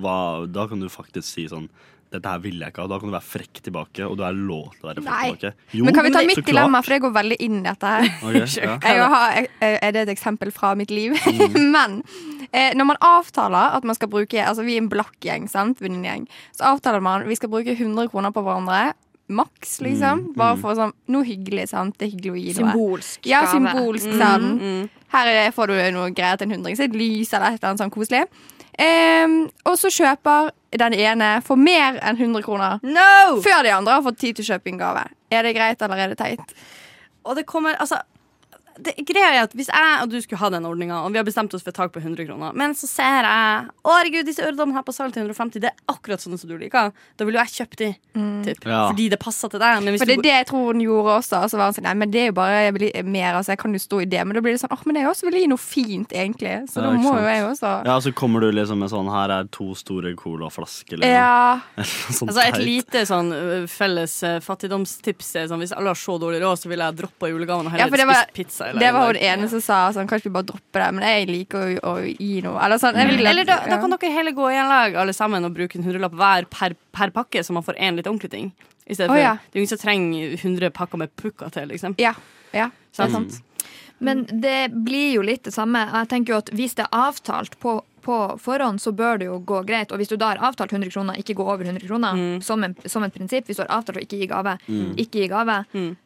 hva, Da kan du faktisk si sånn Dette her ville jeg ikke ha. Da kan du være frekk tilbake, og du er lov til å være frekk Nei. tilbake. Jo, Men kan vi ta så mitt klart. dilemma, for det går veldig inn i dette her. Ok, ja. Jeg har, jeg- er det et eksempel fra mitt liv? Men eh, når man avtaler at man skal bruke Altså vi er en blakk gjeng, sant? Venninnegjeng. Så avtaler man vi skal bruke 100 kroner på hverandre. Maks, liksom. Bare for sånn noe hyggelig, sant? Det er hyggelig å gi det. Symbolsk Ja, gave. Mm, symbolsk sant? Her er, får du noe greier til en hundring. Så et lys eller et eller annet sånn koselig. Ehm, og så kjøper den ene for mer enn 100 kroner. No! Før de andre har fått tid til å kjøpe en gave. Er det greit, eller er det teit? Og det kommer, altså det, greia er at Hvis jeg og du skulle ha den ordninga, og vi har bestemt oss for et tak på 100 kroner, men så ser jeg Å, herregud, disse øredommene her på salg til 150, det er akkurat sånne som du liker. Da ville jo jeg kjøpt de, typ, Ja. fordi det passer til deg. Men hvis Mm. For det du er det jeg tror hun gjorde også. Og så var hun sånn, nei, men det er jo bare jeg blir mer, altså jeg kan jo stå i det. Men da blir det sånn, åh, men jeg også vil gi noe fint, egentlig. Ja, Så da ikke må sant. jo jeg også. Ja, så kommer du liksom med sånn Her er to store colaflasker. Liksom. Ja. sånn Altså Et teit. lite sånn ø, felles ø, fattigdomstips er sånn hvis alle har så dårlig råd, så ville jeg droppa julegaven og Ja, heller for det var, spist pizza. det var hun ene som sa sånn, kanskje vi bare dropper det, men jeg liker å, å gi noe. Eller sånn, jeg vil at- Mm. Eller da, da ja. kan dere heller gå i en lag alle sammen og bruke en hundrelapp hver per, per pakke, så man får én litt ordentlig ting. I stedet Å, for, ja. Det er jo ingen som trenger 100 pakker med pukka til, liksom. Ja, ja. Sant? Men Mm. det blir jo litt det samme. Jeg tenker jo at Hvis det er avtalt på, på forhånd, så bør det jo gå greit. Og hvis du da har avtalt 100 kroner, ikke gå over 100 kroner, Mm. som, en, som et prinsipp. Hvis du har avtalt å ikke gi gave, ikke gi gave. Mm.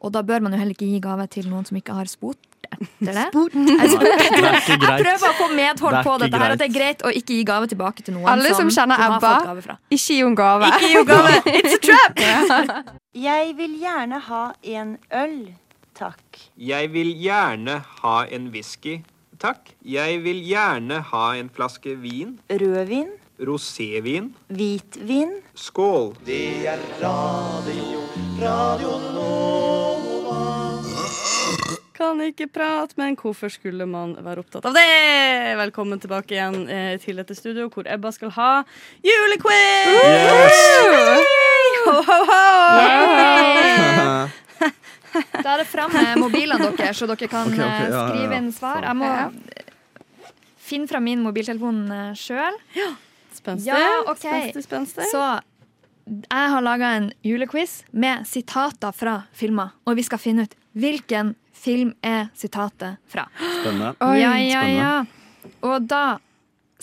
Og da bør man jo heller ikke gi gave til noen som ikke har spurt etter det. Det er ikke Jeg greit. prøver å få medhold Det er på ikke dette her, greit. at det er greit å ikke gi gave tilbake til noen Alle som kjenner har Ebba. fått gave fra. Ikke gi henne gave. Ikke gi gave! It's a trap! Jeg vil gjerne ha en øl, takk. Jeg vil gjerne ha en whisky, takk. Jeg vil gjerne ha en flaske vin. Rødvin, Rosévin. hvitvin. Skål. Kan ikke prate, men hvorfor skulle man være opptatt av det? Velkommen tilbake igjen eh, til dette studio, hvor Ebba skal ha julequiz! Ho, ho, ho! Da er det fram med mobilene deres, så dere kan Ok, ok, eh, ja, ja, ja. skrive inn svar. Jeg må eh, finne fram min mobiltelefon eh, sjøl. Spenstig. Ja, ok. Spenstig, spenstig. Så jeg har laga en julequiz med sitater fra filmer. Og vi skal finne ut hvilken film er sitatet fra. Spennende. Oi. ja, ja, ja. Og da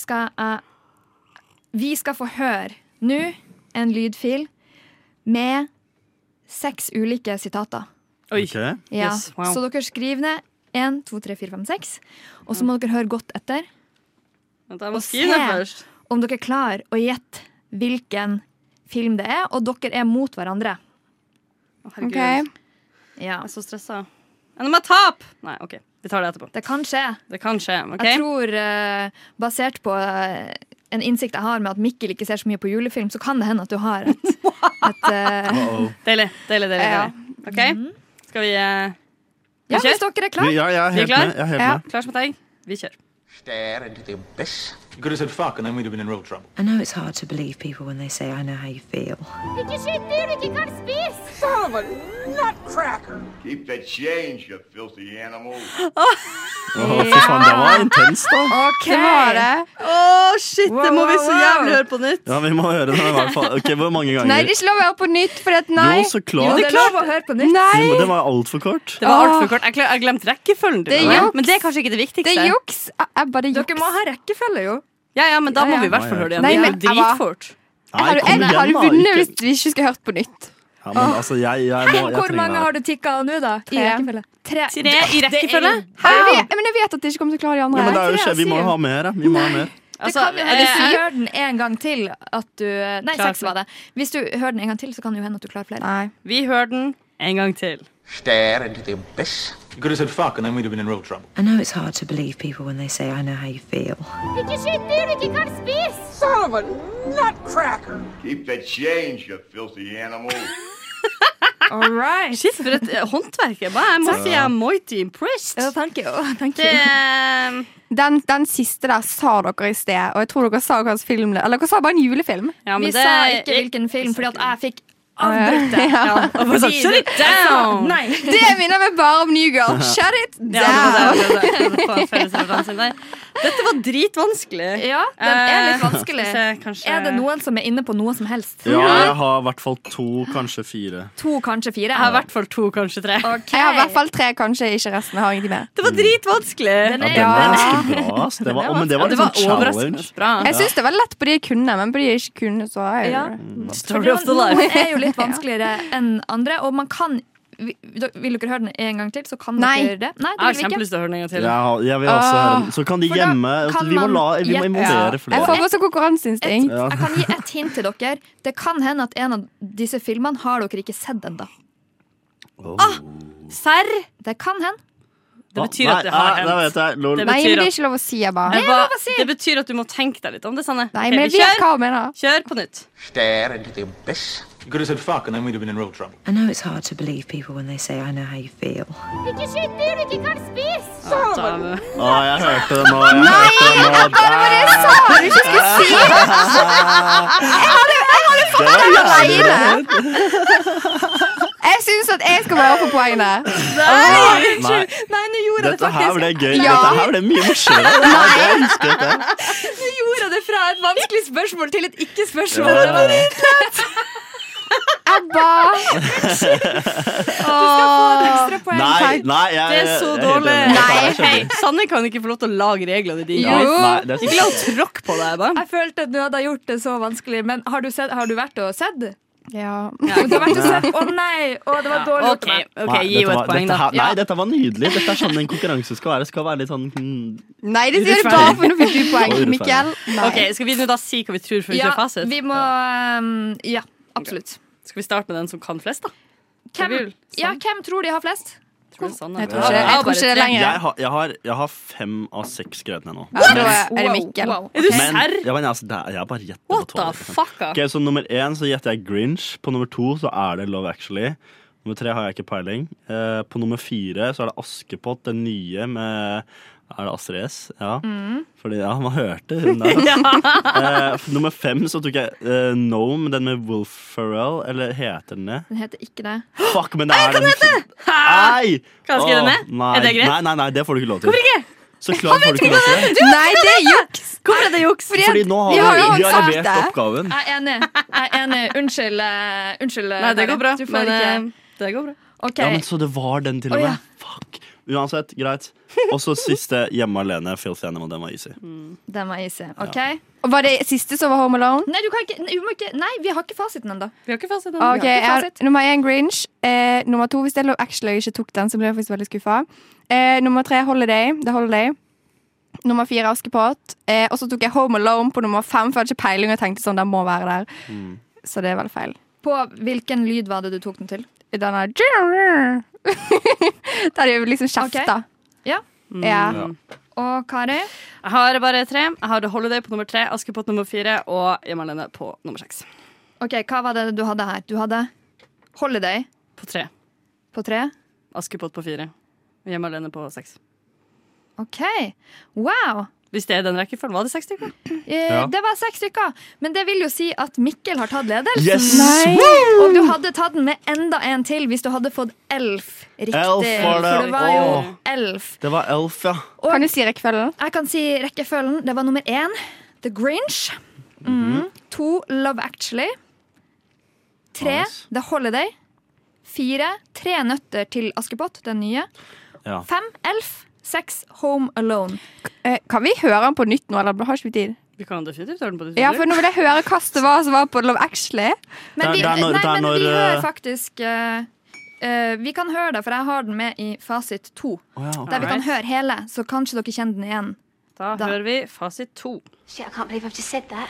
skal jeg Vi skal få høre nå en lydfil med seks ulike sitater. Oi. Ok. Ja. Yes, wow. Så dere skriver ned 1, 2, 3, 4, 5, 6. Og så må dere høre godt etter Vent, jeg må Og skrive det se. først. om dere klarer å gjette hvilken film det er, og dere er mot hverandre. Å, herregud. Ja. Ok. Jeg er så stressa. Nå må jeg tape! Nei, OK. Vi tar det etterpå. Det kan skje. Det kan skje. ok? Jeg tror, eh, basert på eh, en innsikt jeg har med at Mikkel ikke ser så mye på julefilm, så kan det hende at du har et, et eh, Uh-oh. Deilig. deilig, deilig, Ja. deilig. OK? Skal vi eh, Ja, Kjør. hvis dere er Ja, klare. jeg er Vi er helt klar? med. Jeg er helt Ja. med. Klar som et egg? Vi kjører. Det er en liten bæsj. You could have said fuck, and then we'd have been in real trouble. I know it's hard to believe people when they say, I know how you feel. Ikke skyt dyr du ikke kan spise! Son of a nutcracker! Keep the change, you filthy animal. Å, fy faen, det var intenst, da. Det var det. Å, shit, det må vi så jævlig høre på nytt. Ja, vi må høre den i hvert fall. Ok, Hvor mange ganger? Nei, det er ikke lov å høre på nytt, for at nei. Jo, så klart. Jo, det er lov å høre på nytt. Nei. Jo, men Det var jo altfor kort. Det var altfor kort. Jeg gle- Jeg glemte rekkefølgen. til Det er og med. juks. Men det er kanskje ikke det viktigste. Det er juks. Jeg bare juks. Dere må ha rekkefølge, jo. Ja, ja, men da Ja, må ja. vi i hvert fall høre det igjen. Nei, Det er men jo jeg var- dritfort. Har du, kom jeg, igjen, har du da, vunnet ikke- hvis vi ikke skulle hørt på nytt? Ja, men altså, jeg, jeg, må, jeg Hvor mange har du tikka nå, da? I Tre. rekkefølge? Tre, Tre i rekkefølge? Hæ? Jeg vet, men jeg vet at dere ikke kommer til å klare de andre. Ja, men det er jo skje, Vi må jo ha mer. ja. Vi må ha mer. Altså, det kan jo det hende hvis syv? du hører den en gang til at du eh, Nei, Klar, seks var det. Hvis du hører den en gang til, så kan det jo hende at du klarer flere. Vi hører den en gang til. Stare into the abyss. You could have said fuck, and then we'd have been in real trouble. I know it's hard to believe people when they say, I know how you feel. Ikke skyt dyr du ikke kan spise! Son of a nutcracker! Keep the change, you filthy animal. All right. Shit, for et eh, håndverk. Jeg bare- jeg må Takk. si jeg er mighty impressed. Ja, thank you. Thank you. Det, eh, Den, den siste der sa dere i sted, og jeg tror dere sa hvilken film det Eller dere sa bare en julefilm. ja, men Vi det- sa ikke hvilken film, fordi at jeg fikk avbrutt det. Ja. Og bare sånn, Fordi Shut it det- down! Nei. Det minner meg bare om New Girl. Shut it Ja, det down! var det, det var det. Det var en felles referanse der. Dette var dritvanskelig. Ja, den er litt Eh, vanskelig. skal vi se, kanskje- Er det noen som er inne på noe som helst? Ja, jeg har i hvert fall to, kanskje fire. To, kanskje fire? Jeg har i hvert fall to, kanskje tre. Ok. Jeg har i hvert fall tre, kanskje ikke resten. Jeg har ingenting mer. Det var dritvanskelig. Den Ja, er, den var Ja. ganske bra. ass. Det var, å, men det var det litt var sånn challenge. overraskende bra. Jeg syns det var lett på de jeg kunne, men på de jeg ikke kunne, så er ja. det Story of the Noen life. er jo litt vanskeligere enn andre, og man kan vi- Vil dere høre den en gang til, så kan Nei. dere det. Nei, Jeg har det vil vi ikke. kjempelyst til å høre den en gang Jeg, til. har, jeg vil også høre den. Så kan de For da gjemme kan Vi må, man la, vi må gjette. involvere Jeg flere. får også konkurranseinstinkt. Ja. Jeg kan gi et hint til dere. Det kan hende at en av disse filmene har dere ikke sett ennå. Serr? Det kan hende. Det betyr at det Da har hendt. vet jeg. Lol. Det Nei, men betyr det er at ikke lov å si, jeg bare. det, var, det betyr at du må tenke deg litt om det, Sanne. Nei, Ok, men vi jeg vet kjører, hva hun mener. kjør på nytt. Stare into the abyss. You could have said fuck, and then we'd have been in real trouble. I know it's hard to believe people when they say, I know how you feel. Ikke skyt dyr du ikke kan spise! Son of a Da- Å, jeg hørte det nå. Jeg hørte det nå. Det var jævlig bra. Jeg syns at jeg skal være på poeng der. Nei, Nei, nå gjorde jeg det dette her faktisk. ble gøy. Ja. Dette her ble mye morsommere. Ja, jeg husker dette. Nå gjorde jeg det fra et vanskelig spørsmål til et ikke-spørsmål. Ja, ja, ja. Ebba! Nei, nei, jeg, Det er så jeg helt dårlig. enig. Nei, Jeg hei, skjønner. Sanne kan ikke få lov til å lage reglene dine. Nei, nei, det er Ikke la henne tråkke på deg. Ebba. Jeg følte at du hadde gjort det så vanskelig, men har du, sett, har du vært og sett? Ja. Du har vært og sett. Å nei! Å, det var dårlig gjort Ok, av meg. ok, Nei, Gi dette henne var- et poeng, dette da. her- Nei, dette var nydelig. Dette er sånn en konkurranse skal være. Skal være litt sånn hmm, Nei, det sier du bare for nå fikk du poeng, Urettferdig. Mikkel. Nei. Ok, Skal vi nå da si hva vi tror før vi Ja, kjører fasit? vi må um, Ja, absolutt. Skal vi starte med den som kan flest, da? Hvem, ja, hvem tror de har flest? Tror du Sanne? Jeg tror ikke, jeg tror ikke det er lenger. jeg, har, jeg, har, jeg har fem av seks skrevne nå. Ja, da er det Mikkel. Wow, wow. Er du Men serr? ja, men, altså, det er- jeg bare gjetter på What the tolv. liksom. fuck? da? Ok, så Nummer én så gjetter jeg Grinch. På nummer to så er det Love Actually. Nummer tre har jeg ikke peiling. Eh, på nummer fire så er det Askepott, den nye med Er det Astrid S? Ja. Mm. Fordi ja, man hørte hun der. Eh, f- nummer fem så tok jeg eh, Nome, den med Wolf Ferrell. Eller heter den det? Den heter ikke det. Fuck, men det er den Nei! Kan jeg skrive den ned? Åh, Nei. Er det greit? Nei, nei, nei, det får du ikke lov til. Hvorfor ikke? Så klart får du ikke lov til det. Nei, det er juks! Hvorfor er det juks? Fordi nå vi har har vi, jo vi har sagt levert det. oppgaven. Jeg er enig. Jeg er enig. Unnskyld. eh, unnskyld Nei, det Harry. går bra. Du får Men ikke. eh, det går bra. OK. Ja, men Så det var den til og Å, med? ja. Fuck. Uansett, greit. Og så siste Hjemme alene, Filthy Animal. Den var easy. Den var easy. OK? Og Var det siste som var Home Alone? Nei, du kan ikke, nei, vi må ikke, nei, vi har ikke fasiten ennå. Vi har ikke fasit ennå. Ok, jeg har fasit. Nummer én Grinch. Eh, nummer to, hvis det er Love Actually jeg ikke tok den, så ble jeg faktisk veldig skuffa. Eh, nummer tre Holiday. Det er Holiday. Nummer fire Askepott. Eh, og så tok jeg Home Alone på nummer fem, for jeg hadde ikke peiling og tenkte sånn, den må være der. Mm. Så det er veldig feil. På hvilken lyd var det du tok den til? Den er Der gjør vi liksom kjefta. Ja. Ja. Og Kari? Jeg Ah, har bare tre. Jeg har The Holiday på nummer tre, Askepott nummer fire og Hjemme alene på nummer seks. Ok, Hva var det du hadde her? Du hadde Holiday På tre. på tre. Askepott på fire. Hjemme alene på seks. OK. Wow. Hvis det er den rekkefølgen. Var det seks stykker? Eh, Ja. Det var seks stykker, men det vil jo si at Mikkel har tatt ledelsen. Yes! Nei! Og du hadde tatt den med enda en til hvis du hadde fått elf riktig. Elf var det. For det var jo Åh. elf. Det var Elf, ja. kan du si rekkefølgen? Jeg kan si rekkefølgen. Det var nummer én The Grinch. Mhm. Mm. To Love Actually. Tre Nice. The Holiday. Fire Tre nøtter til Askepott, den nye. Ja. Fem Elf. Seks Home Alone. Eh, Kan vi høre den på nytt nå, eller har ikke vi tid? Vi kan definitivt høre den på det. Ja, for nå vil jeg høre hva det var som var på Love Actually. Men Der- vi, der når- nei, der men når, vi eh, hører faktisk eh, eh, Vi kan høre det, for jeg har den med i fasit to. Å ja, ok. Der vi kan høre hele, så kanskje dere kjenner den igjen. Da, hører vi fasit to. Shit, I can't believe I've just said that.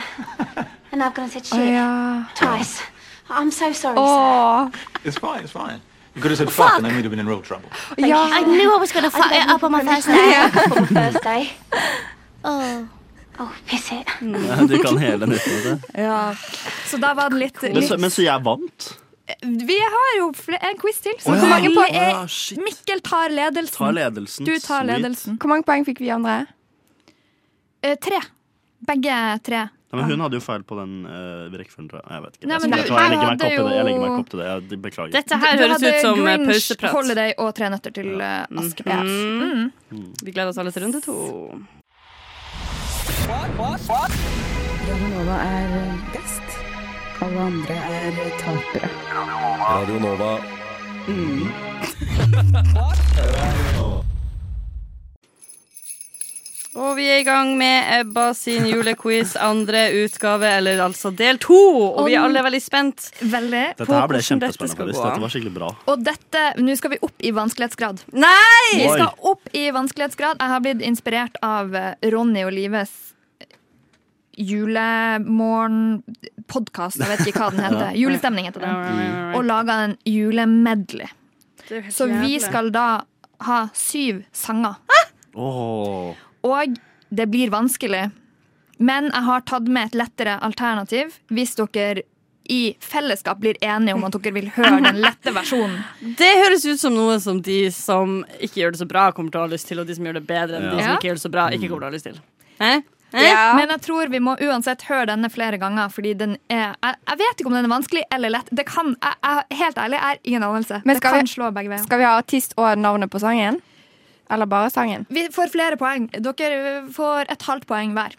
and I've gone and said shit. Oh, yeah. Twice. I'm so sorry, Oh, sir. It's fine, it's fine. You could have said fuck, and I would have been in real trouble. Thank Yeah. you. I knew I was going to fuck it up on my first day. on my first day. Oh. Oh, piss it. Du kan hele nytt med det. Ja. Så da var det litt, Men så, litt men så jeg vant? Vi har jo fle- en quiz til, så Å, hvor ja. mange Å, poeng er ja, Eh, Mikkel tar ledelsen. Tar ledelsen, Du tar sweet. ledelsen. Hvor mange poeng fikk vi andre? Eh, tre. Begge tre. Nei, men hun hadde jo feil på den uh, rekkefølgen, tror jeg. Nei, Jeg vet ikke. Nei, Jeg, men jeg, du- tror jeg, legger her meg ikke opp i hadde det. jeg legger meg jo- ikke opp til det. Jeg beklager. Dette her Du høres hadde ut som, eh, Grinch, pauseprat. Mhm. Holiday og Tre nøtter til eh, Askepott. Mm. Vi gleder oss alle til runde to. Radio Nova er eh, best. Alle andre er eh, tapere. Radio Nova. Mm. Og vi er i gang med Ebba sin julequiz, andre utgave, eller altså del to. Og vi er alle veldig spent Veldig. Dette her ble kjempespennende. faktisk. Dette var skikkelig bra. Og dette, nå skal vi opp i vanskelighetsgrad. Nei! Vi skal Oi. opp i vanskelighetsgrad. Jeg har blitt inspirert av eh, Ronny eh, og Lives julemorgenpodkast. Jeg vet ikke hva den heter. Ja. Julestemning heter Right, right, right, den. right. Og laga en julemedley. Det er jo helt Så vi jævlig. skal da ha syv sanger. Åh. Og det blir vanskelig. Men jeg har tatt med et lettere alternativ hvis dere i fellesskap blir enige om at dere vil høre den lette versjonen. Det høres ut som noe som de som ikke gjør det så bra, kommer til å ha lyst til, og de som gjør det bedre enn de som Ja. ikke gjør det så bra, Mm. ikke kommer til å ha lyst til. Ja. Men jeg tror vi må uansett høre denne flere ganger, fordi den er Jeg, jeg vet ikke om den er vanskelig eller lett. Det kan, jeg, jeg, helt ærlig, jeg har ingen anelse. Men det skal kan vi- slå begge veier. Skal vi ha artist og navnet på sangen? Eller bare sangen? Vi får flere poeng. Dere får et halvt poeng hver.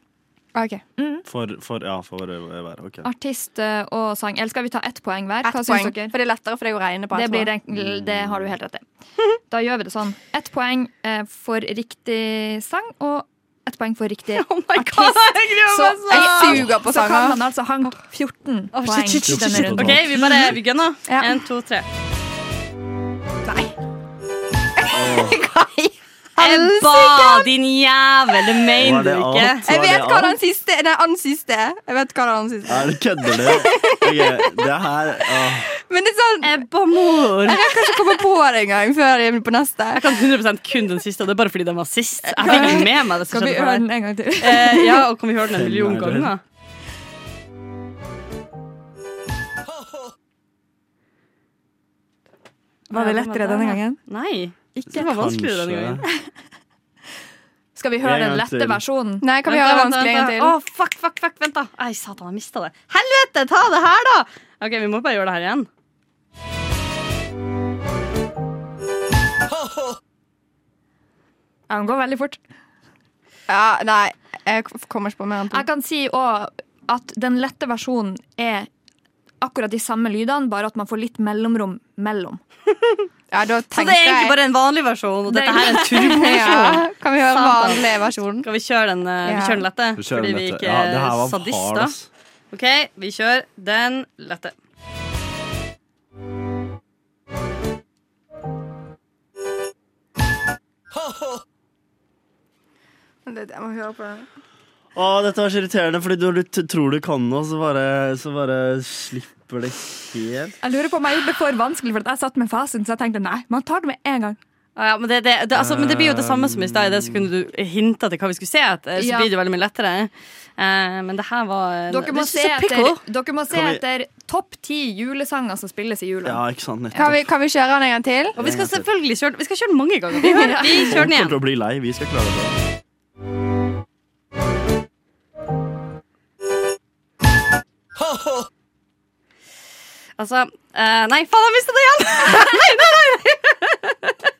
Mm. For, for Ja, for eh, hver. Ok. Ah, Artist eh, og sang. Eller skal vi ta ett poeng hver? Ett Hva poeng, syns dere? For det er lettere, for det er jo regne på. Det, jeg blir, tror. enkel- det har du helt rett i. Da gjør vi det sånn. Ett poeng eh, for riktig sang og ett poeng for riktig artist. jeg gruer så, meg sånn. Jeg suger på så kan sanger. man altså hanke 14 Å, poeng shit, shit, i shit, denne shit. runden. OK, vi bare vi gønner. En, to, tre. Ebba, din jævel! Det Var mener du det alt? ikke. Jeg Var vet det hva den alt? siste Nei, annen siste Jeg vet hva det er den siste. Er det kødder du? Ok, det her ah, åh. Men det er sånn Ebba mor. Jeg kan ikke komme på det engang før jeg blir på neste. Jeg kan 100 kun den siste, og det er bare fordi den var sist. Jeg fikk ikke med meg det som Kan vi skjedde for høre deg. den en gang til? Eh, ja, og kan vi høre den en million Stemmer. ganger? Var det lettere denne gangen? Nei. Ikke. Det var vanskeligere denne gangen. Skal vi høre En gang den lette til. versjonen? Nei, kan vi Vent da, gjøre vent da, vanskelig en gang vent til? da. Å, fuck, fuck, fuck, vent da. Ei, satan, jeg mista det. Helvete, ta det her, da! OK, vi må bare gjøre det her igjen. Ja, den går veldig fort. Ja, nei, jeg kommer ikke på mer enn to. Jeg kan si òg at den lette versjonen er akkurat de samme lydene, bare at man får litt mellomrom mellom. Så det er egentlig bare en vanlig versjon, og dette her er en turboversjon. Ja, kan vi høre Satan. vanlig versjon? Skal vi kjøre den, eh, vi Ja. kjører den lette? Vi kjører fordi den vi lette. ikke Ja, er det her var hard, sadister. ass. OK, vi kjører den lette. Jeg må høre på den. Å, dette var så irriterende, fordi du, du tror du kan noe, så bare, så bare slipper det helt. Jeg lurer på om jeg gjorde det for vanskelig, for at jeg satt med fasen, så jeg tenkte nei, man tar det med en gang. Ja, men, det, det, det, altså, men det blir jo det samme som i stad. I det sekundet du hinta til hva vi skulle se etter, så Ja. blir det veldig mye lettere. Eh, men det her var en- Dere må This se is a etter, pickle. dere må se Kan vi- etter topp ti julesanger som spilles i jula. Ja, ikke sant? Nettopp. Kan vi, kan vi kjøre den en gang til? Og vi skal selvfølgelig kjøre, vi skal kjøre den mange ganger. Vi, vi Folk kjører den kommer igjen. til å bli lei. Vi skal klare det. Altså eh, Nei, faen, jeg mistet det igjen! nei, nei, nei! nei.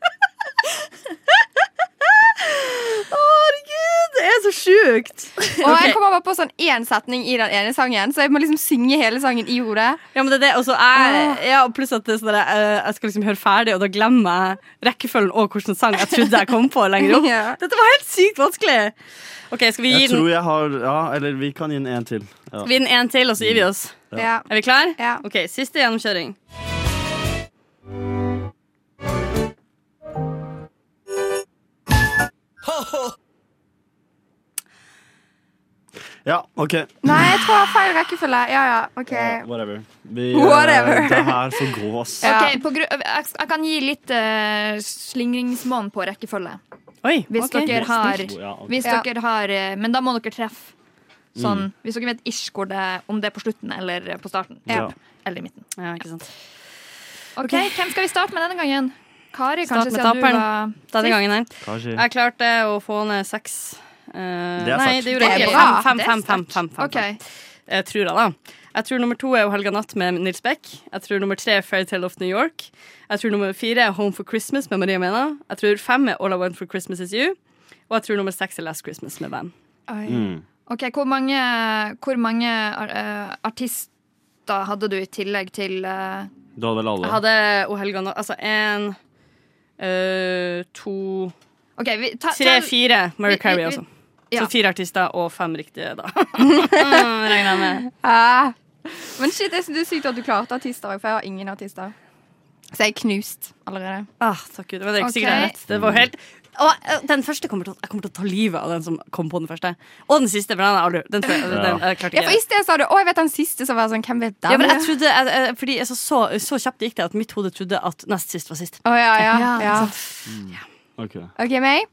Å, Herregud, det er så sjukt. Og jeg kommer bare på sånn én setning i den ene sangen, så jeg må liksom synge hele sangen i hodet. Ja, men det er det. Og så er, ja, og pluss at det er sånn der, eh, jeg skal liksom høre ferdig, og da glemmer jeg rekkefølgen og hvilken sang jeg trodde jeg kom på lenger opp. Ja. Dette var helt sykt vanskelig. Ok, skal vi gi Jeg den, tror jeg har Ja, eller vi kan gi den en til. Ja. skal vi gi den en til, og så gir vi oss? Ja. Ja. Er vi klar? Ok, siste gjennomkjøring. Ja, OK. Nei, jeg tror jeg har feil rekkefølge. Ja, ja, ok. Ja, whatever. Vi, eh, Whatever. Det her får gå, ass. Ok, på gru jeg, jeg kan gi litt uh, slingringsmån på rekkefølge. Oi, Hvis ok. dere har, Ja, ok. hvis Ja. dere har eh, Men da må dere treffe. Sånn, Mm. Hvis dere vet ish hvor det, om det er på slutten eller på starten. Ja. Eller i midten. Ja, ikke sant. Ok, Hvem skal vi starte med denne gangen? Kari, Start med kanskje, siden du taperen var denne sist. gangen her. Kanskje. Jeg klarte å få ned seks. Eh, Det er nei, sterkt. det gjorde jeg Det er ikke. Fem, bra. fem, Det er fem, fem, fem, fem, fem. Jeg tror jeg, da. Jeg tror nummer to er jo Helga Natt med Nils Beck. Jeg tror nummer tre er Fairytale of New York. Jeg tror nummer fire er Home for Christmas med Maria Mena. Jeg tror fem er All I Want for Christmas Is You. Og jeg tror nummer seks er Last Christmas med Van. Oi. Mm. Ok, Hvor mange, hvor mange eh, artister hadde du i tillegg til eh, Du hadde vel alle? Jeg hadde O Helga Natt Altså én, eh, to, Ok, vi ta- tre, tell- fire. vi- Mariah vi- Carey vi- også. ja. Så fire artister og fem riktige, da. Mm, Regner jeg med. Ja. Men shit, jeg synes det er sykt at du klarte artister, for jeg har ingen artister. Så jeg er knust allerede. Ah, takk Gud. Men det er ikke sikkert jeg Ok. har rett. Det var jo helt og eh, den første kommer til, å- jeg kommer til å ta livet av den som kom på den første. Og den siste. For den, er aldri, den, tror jeg- den, den, jeg klarte Ja, for I ikke. sted sa du 'Å, jeg vet den siste', så var jeg sånn 'Hvem vet den?' Ja, men jeg trodde, jeg, jeg, fordi jeg så, så, så kjapt gikk det at mitt hode trodde at nest sist var sist. Å, ja, ja, ja. Ok. OK, meg?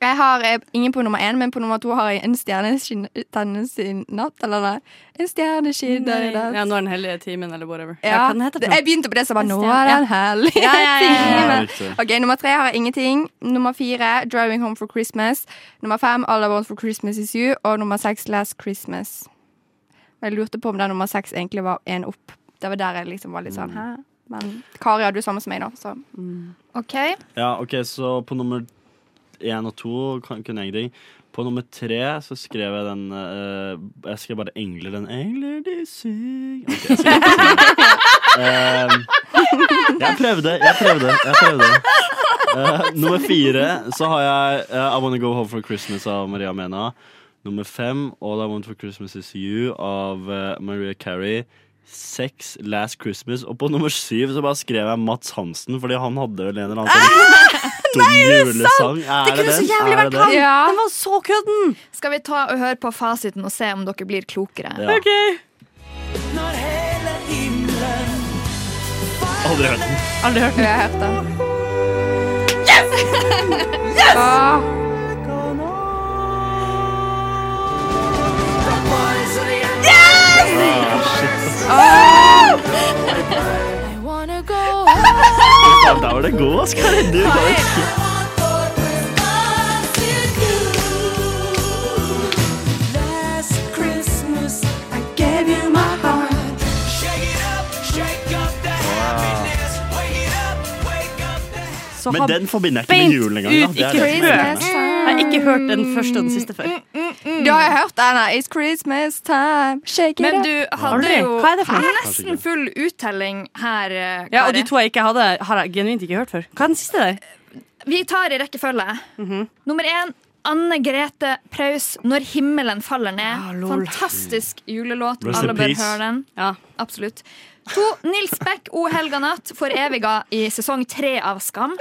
Jeg har eh, ingen på nummer én, men på nummer to har jeg en stjerne skinner sin natt. Eller nei, en stjerne skinner i natt. Ja, nå er den hellige timen, eller whatever. Ja, hva den heter for det- noe? jeg begynte på det som var En nå stjerne, er ja. den hellige Ja, ja, ja, ja, ja. timen. Ja, riktig. Ok, Nummer tre har jeg ingenting. Nummer fire 'Driving Home for Christmas'. Nummer fem 'All I Want for Christmas Is You'. Og nummer seks 'Last Christmas'. Men jeg lurte på om den nummer seks egentlig var en opp. Det var der jeg liksom var litt Mm. sånn Hæ? Men Kari hadde jo samme som meg, da. Så. OK. Ja, ok, så på nummer én og to kan, kunne jeg ingenting. På nummer tre så skrev jeg den eh, Jeg skrev bare 'Engler den engler de syng'. Ok, jeg, skrev ikke syng. Eh, jeg prøvde, jeg prøvde, jeg prøvde. Eh, nummer fire så har jeg eh, 'I Wanna Go Home for Christmas' av Maria Mena. Nummer fem 'All I Want for Christmas Is You' av eh, Maria Carey. Seks 'Last Christmas'. Og på nummer syv så bare skrev jeg Mats Hansen, fordi han hadde vel en eller annen sånn dum julesang. Er det den? Er det den? Den var så kødden! Skal vi ta og høre på fasiten og se om dere blir klokere? Ja. Ok. Aldri hørt den. Aldri hørt den. Jeg har hørt den. Yes! yes! Åh. Ah, Ja, der var det god, Oskar. Du bare Så Men har den forbinder jeg ikke beint med julen engang. da. ut, Det er ikke det som er hørt. irriterende. Jeg har ikke hørt den første og den siste før. Mm, Da har jeg hørt den. da. It's Christmas time. Shake it Men up. du hadde Aldri. jo Hva er det for noe? nesten full uttelling her, eh, Ja, og Kari. de to jeg ikke hadde, har jeg genuint ikke hørt før. Hva er den siste der? Vi tar i rekkefølge. Nummer én Anne Grete Preus 'Når himmelen faller ned'. Fantastisk julelåt. Rest in Alle bør peace. høre den. Ja. Absolutt. To Nils Beck O helga natt foreviga i sesong tre av Skam.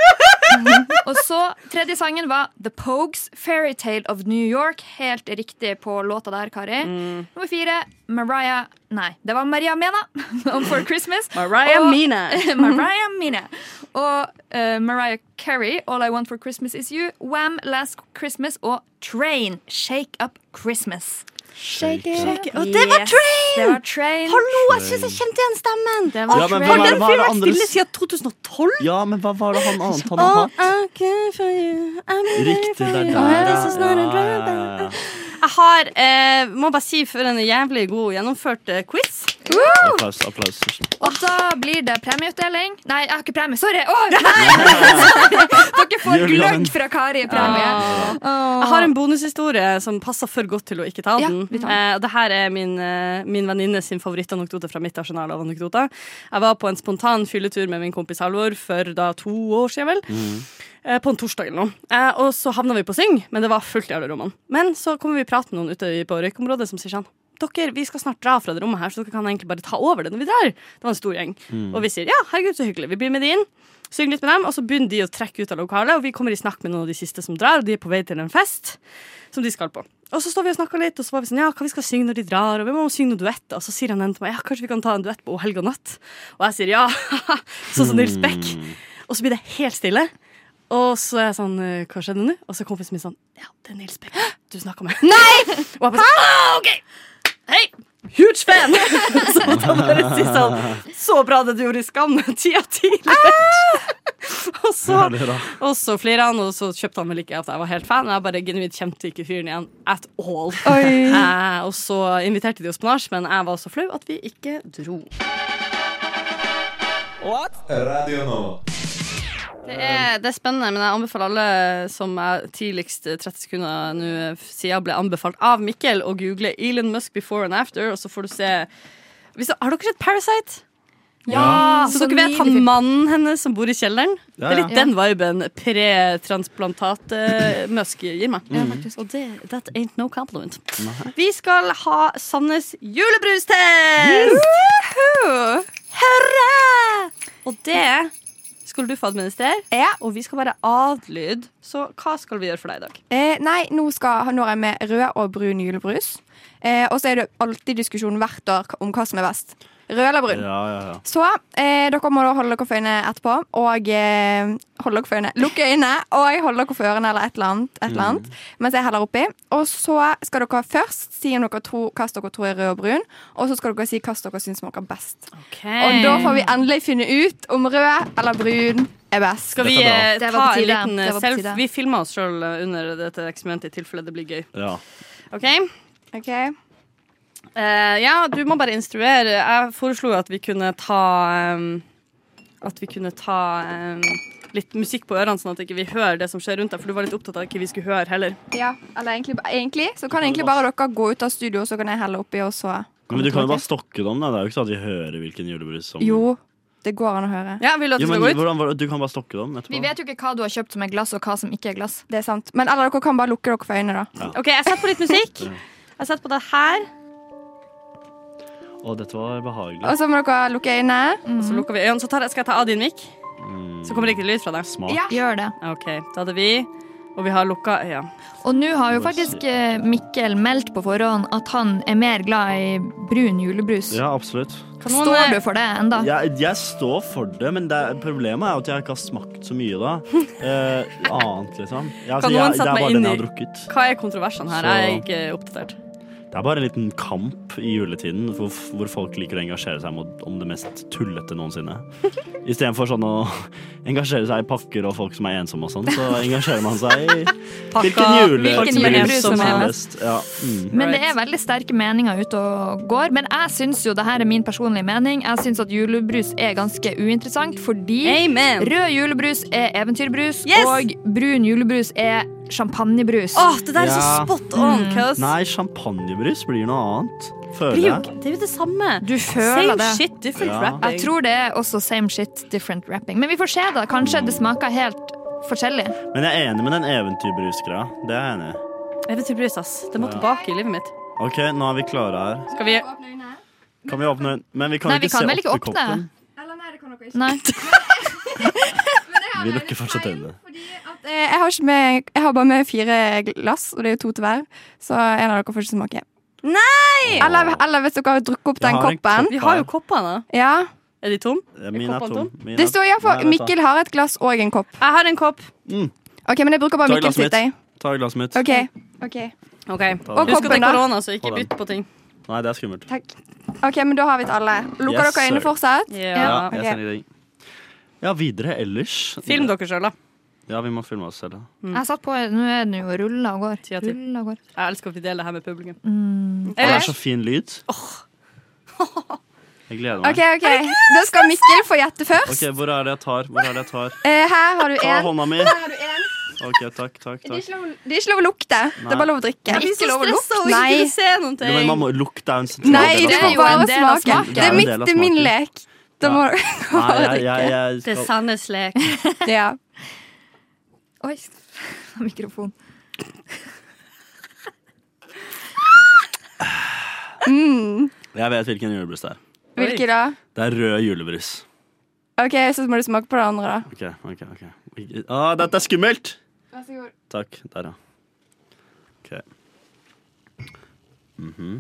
Og så tredje sangen var The Pogues Fairytale of New York. Helt riktig på låta der, Kari. Nummer fire Mariah Nei, det var Maria Mena. Om For Christmas. Mariah Og- Mina. Mariah Mina. Og eh, Mariah Carey, All I Want for Christmas Is You, Wham, Last Christmas og Train, Shake Up Christmas. Shake it up. Og det var Train! Det var Train. Hallo, jeg syns jeg kjente igjen stemmen! Det Ja, men hva var Har det- hva den var fyren det vært andre stille siden 2012? Ja, men hva var det han annet han All har hatt? I care for you, I'm here Riktig, for det er you. der. Oh, ja. this is not Ja, a ja, drama. ja, ja. Jeg har, eh, må bare si for en jævlig god gjennomført eh, quiz. Applaus. applaus. Og da blir det premieutdeling. Nei, jeg har ikke premie. Sorry! Åh, nei! Dere får Julegaven. gløgg fra Kari i premie. Åh. Jeg har en bonushistorie som passer for godt til å ikke ta Ja, den. vi tar Eh, den. og det her er min, eh, min venninne sin favorittanekdote fra mitt arsenal av anekdoter. Jeg var på en spontan fylletur med min kompis Halvor for da to år siden, vel. Eh, På en torsdag eller noe. Eh, Og så havna vi på Syng, men det var fullt i alle rommene. Men så kommer vi i prat med noen ute i- på røykeområdet som sier sånn dere, Vi skal snart dra fra det rommet, her, så dere kan egentlig bare ta over det når vi drar. Det var en stor gjeng. Mm. Og vi sier ja, herregud, så hyggelig. Vi blir med de inn. Synger litt med dem, og så begynner de å trekke ut av lokalet. Og vi kommer i snakk med noen av de siste som drar, og de er på vei til en fest som de skal på. Og så står vi og snakker litt, og så var vi sånn, ja, hva vi skal synge når de drar, og vi må synge noen duetter. Og så sier han en til meg, ja, kanskje vi kan ta en duett på O helg og natt. Og jeg sier ja, sånn som Nils Beck. Og så blir det helt stille. Og så er jeg sånn, «Eh, hva skjedde nå? Og så er kompisen min sånn, ja, det er Nils Beck du snakker med. Nei! Og jeg bare sånn, «Ah, ok! Hei! Huge fan! så måtte han bare si sånn, så bra det du gjorde i Skam, ti av ti. og så Herlig, da. og så flirte han, og så kjøpte han vel ikke at jeg var helt fan. Jeg bare genuint kjente ikke fyren igjen at all. Oi. Eh, og så inviterte de oss på nach, men jeg var så flau at vi ikke dro. Radio Nova. Det er, det er spennende, men jeg anbefaler alle som er tidligst 30 sekunder nå siden jeg ble anbefalt av Mikkel, å google Elon Musk before and after, og så får du se Hvis, Har dere sett Parasite? Ja, Så, Ah, så dere vet han nydelig film. mannen hennes som bor i kjelleren? Ja, Det er litt ja. den viben pre-transplantat-musk gir meg. eh, Mm. Og det, that ain't no compliment. Vi skal ha Sandnes julebrustest! Hurra! Og det skal du få administrere, og vi skal være adlyd. Så hva skal vi gjøre for deg i dag? Eh, nei, nå, skal, nå er jeg med rød og brun julebrus. Eh, og så er det alltid diskusjon hvert år om hva som er best. Rød eller brun. Ja, ja, ja. Så eh, dere må da holde dere for øynene etterpå. Og eh, holde dere for øynene. Lukk øynene og holde dere for ørene eller et eller annet. Et eller Mm. annet Mens jeg heller oppi. Og så skal dere først si om dere tror, hva dere tror er rød og brun. Og så skal dere si hva dere syns smaker best. Og da får vi endelig finne ut om rød eller brun er best. Skal vi eh, Det ta var på en tide. liten Det var på self... tide. Vi filmer oss sjøl under dette eksperimentet i tilfelle det blir gøy. Ja. OK? Eh, ja, du må bare instruere. Jeg foreslo at vi kunne ta em, At vi kunne ta em, litt musikk på ørene, sånn at ikke vi ikke hører det som skjer rundt deg. For du var litt opptatt av ikke vi skulle høre heller. Ja, eller egentlig, egentlig Så kan egentlig bare dere gå ut av studio, så kan jeg helle oppi, og så Men du kan jo bare stokke dem. Da. Det er jo ikke sånn at vi hører hvilken julebrus som Jo, det går an å høre. Ja, vil Jo, men hvordan, var det- Du kan bare stokke dem etterpå. Vi vet jo ikke hva du har kjøpt som er glass, og hva som ikke er glass. Det er sant. Men eller dere kan bare lukke dere for øynene, da. Ja. OK, jeg setter på litt musikk. Ja. Jeg setter på det her. Å, dette var behagelig. Og så må dere lukke øynene. Og så lukker vi øynene. Så tar, jeg- skal jeg ta av din mikk? Mm. Så kommer det ikke lyd fra deg. Smart. Ja. Gjør det. OK. Da hadde vi Og vi har lukka øya. Og nå har jo faktisk eh, Mikkel meldt på forhånd at han er mer glad i brun julebrus. Ja, absolutt. noen- Står du for det enda? Jeg, jeg står for det, men det, er- problemet er jo at jeg ikke har smakt så mye da. Eh, annet, liksom. Ja, altså, Kan jeg, noen det sette er meg bare inn den jeg i har drukket. Hva er kontroversene her? Jeg er Så- ikke oppdatert. Det er bare en liten kamp i juletiden hvor, hvor folk liker å engasjere seg mot, om det mest tullete noensinne. Istedenfor sånn å engasjere seg i pakker og folk som er ensomme og sånn, så engasjerer man seg i hvilken Pakker, hvilken julebrus julebrus som som er er best. Ja. Mm. Men det er veldig sterke meninger ute og går. Men jeg syns jo det her er min personlige mening. Jeg syns at julebrus er ganske uinteressant fordi Amen. rød julebrus er eventyrbrus, Yes. og brun julebrus er champagnebrus. Åh, det der er så Ja. Mm. spot on, cuz. Nei, champagnebrus blir noe annet, føler Blir jo jeg. ikke- Det er jo det samme. Du føler Same det. shit, different Ja. rapping. Jeg tror det er også same shit, different rapping. Men vi får se, da. Kanskje det smaker helt forskjellig. Men jeg er enig med den eventyrbrusgreia. Det er jeg enig i. Eventyrbrus, ass. Det må Ja. tilbake i livet mitt. OK, nå er vi klare her. Skal vi Kan vi åpne den? Men vi kan Nei, jo vi ikke kan se vel ikke oppi åpne? koppen. Nei. Vi lukker fortsatt øynene. Eh, Jeg har, ikke med, jeg har bare med fire glass, og det er jo to til hver. Så en av dere får ikke smake. Nei! Eller, eller hvis dere har drukket opp Jeg den har en koppen. kopp Vi har jo her. koppene. Ja. Er de tom? Ja, Min er koppen tom. tom? Min Det er- står iallfall Nei, vent da. Mikkel har et glass og en kopp. Jeg har en kopp. OK, men jeg bruker bare Ta Mikkel glasset sitt, jeg. mitt. Ta glasset mitt. OK. Ok, Ta Og det. Husk at det koppen, er da. korona, så ikke Hold den. bytt på ting. Nei, det er skummelt. Takk. OK, men da har vi til alle. Lukker Yes, dere øynene sir. fortsatt? Ja, jeg Ok. sender deg. ja videre ellers. Film dere sjøl, da. Ja, vi må filme oss Eh. selv. da. Mm. Jeg satt på Nå er den jo rulla og går. av ti. Rulla og går. Jeg elsker at vi deler det her med publikum. Mm. Å, Det er så fin lyd. Jeg gleder meg. OK, ok, da skal Mikkel få gjette først. Ok, Hvor er det jeg tar? Hvor er det jeg tar? Eh, her har du Ta en. hånda mi. Her har du en. OK, takk, takk. Det er takk. ikke lov, det er ikke lov å lukte. Det er bare lov å drikke. Jeg blir så stresset av å ikke kunne se noen Jo, men man må lukte er jo en sentral Nei, del av du smaken. får bare del av smake. smaken. Det er, Det er en mitt, del av det er min smaken. lek. Da må du Nei, bare jeg, jeg, drikke. jeg skal Sandnes lek. Ja. Oi, mikrofon. Mm. Jeg vet hvilken julebrus det er. Hvilke da? Det er rød julebrus. OK, så må du smake på det andre, da. OK, OK. ok ah, Dette er skummelt! Vær så god. Takk. Der, ja. OK. Mhm.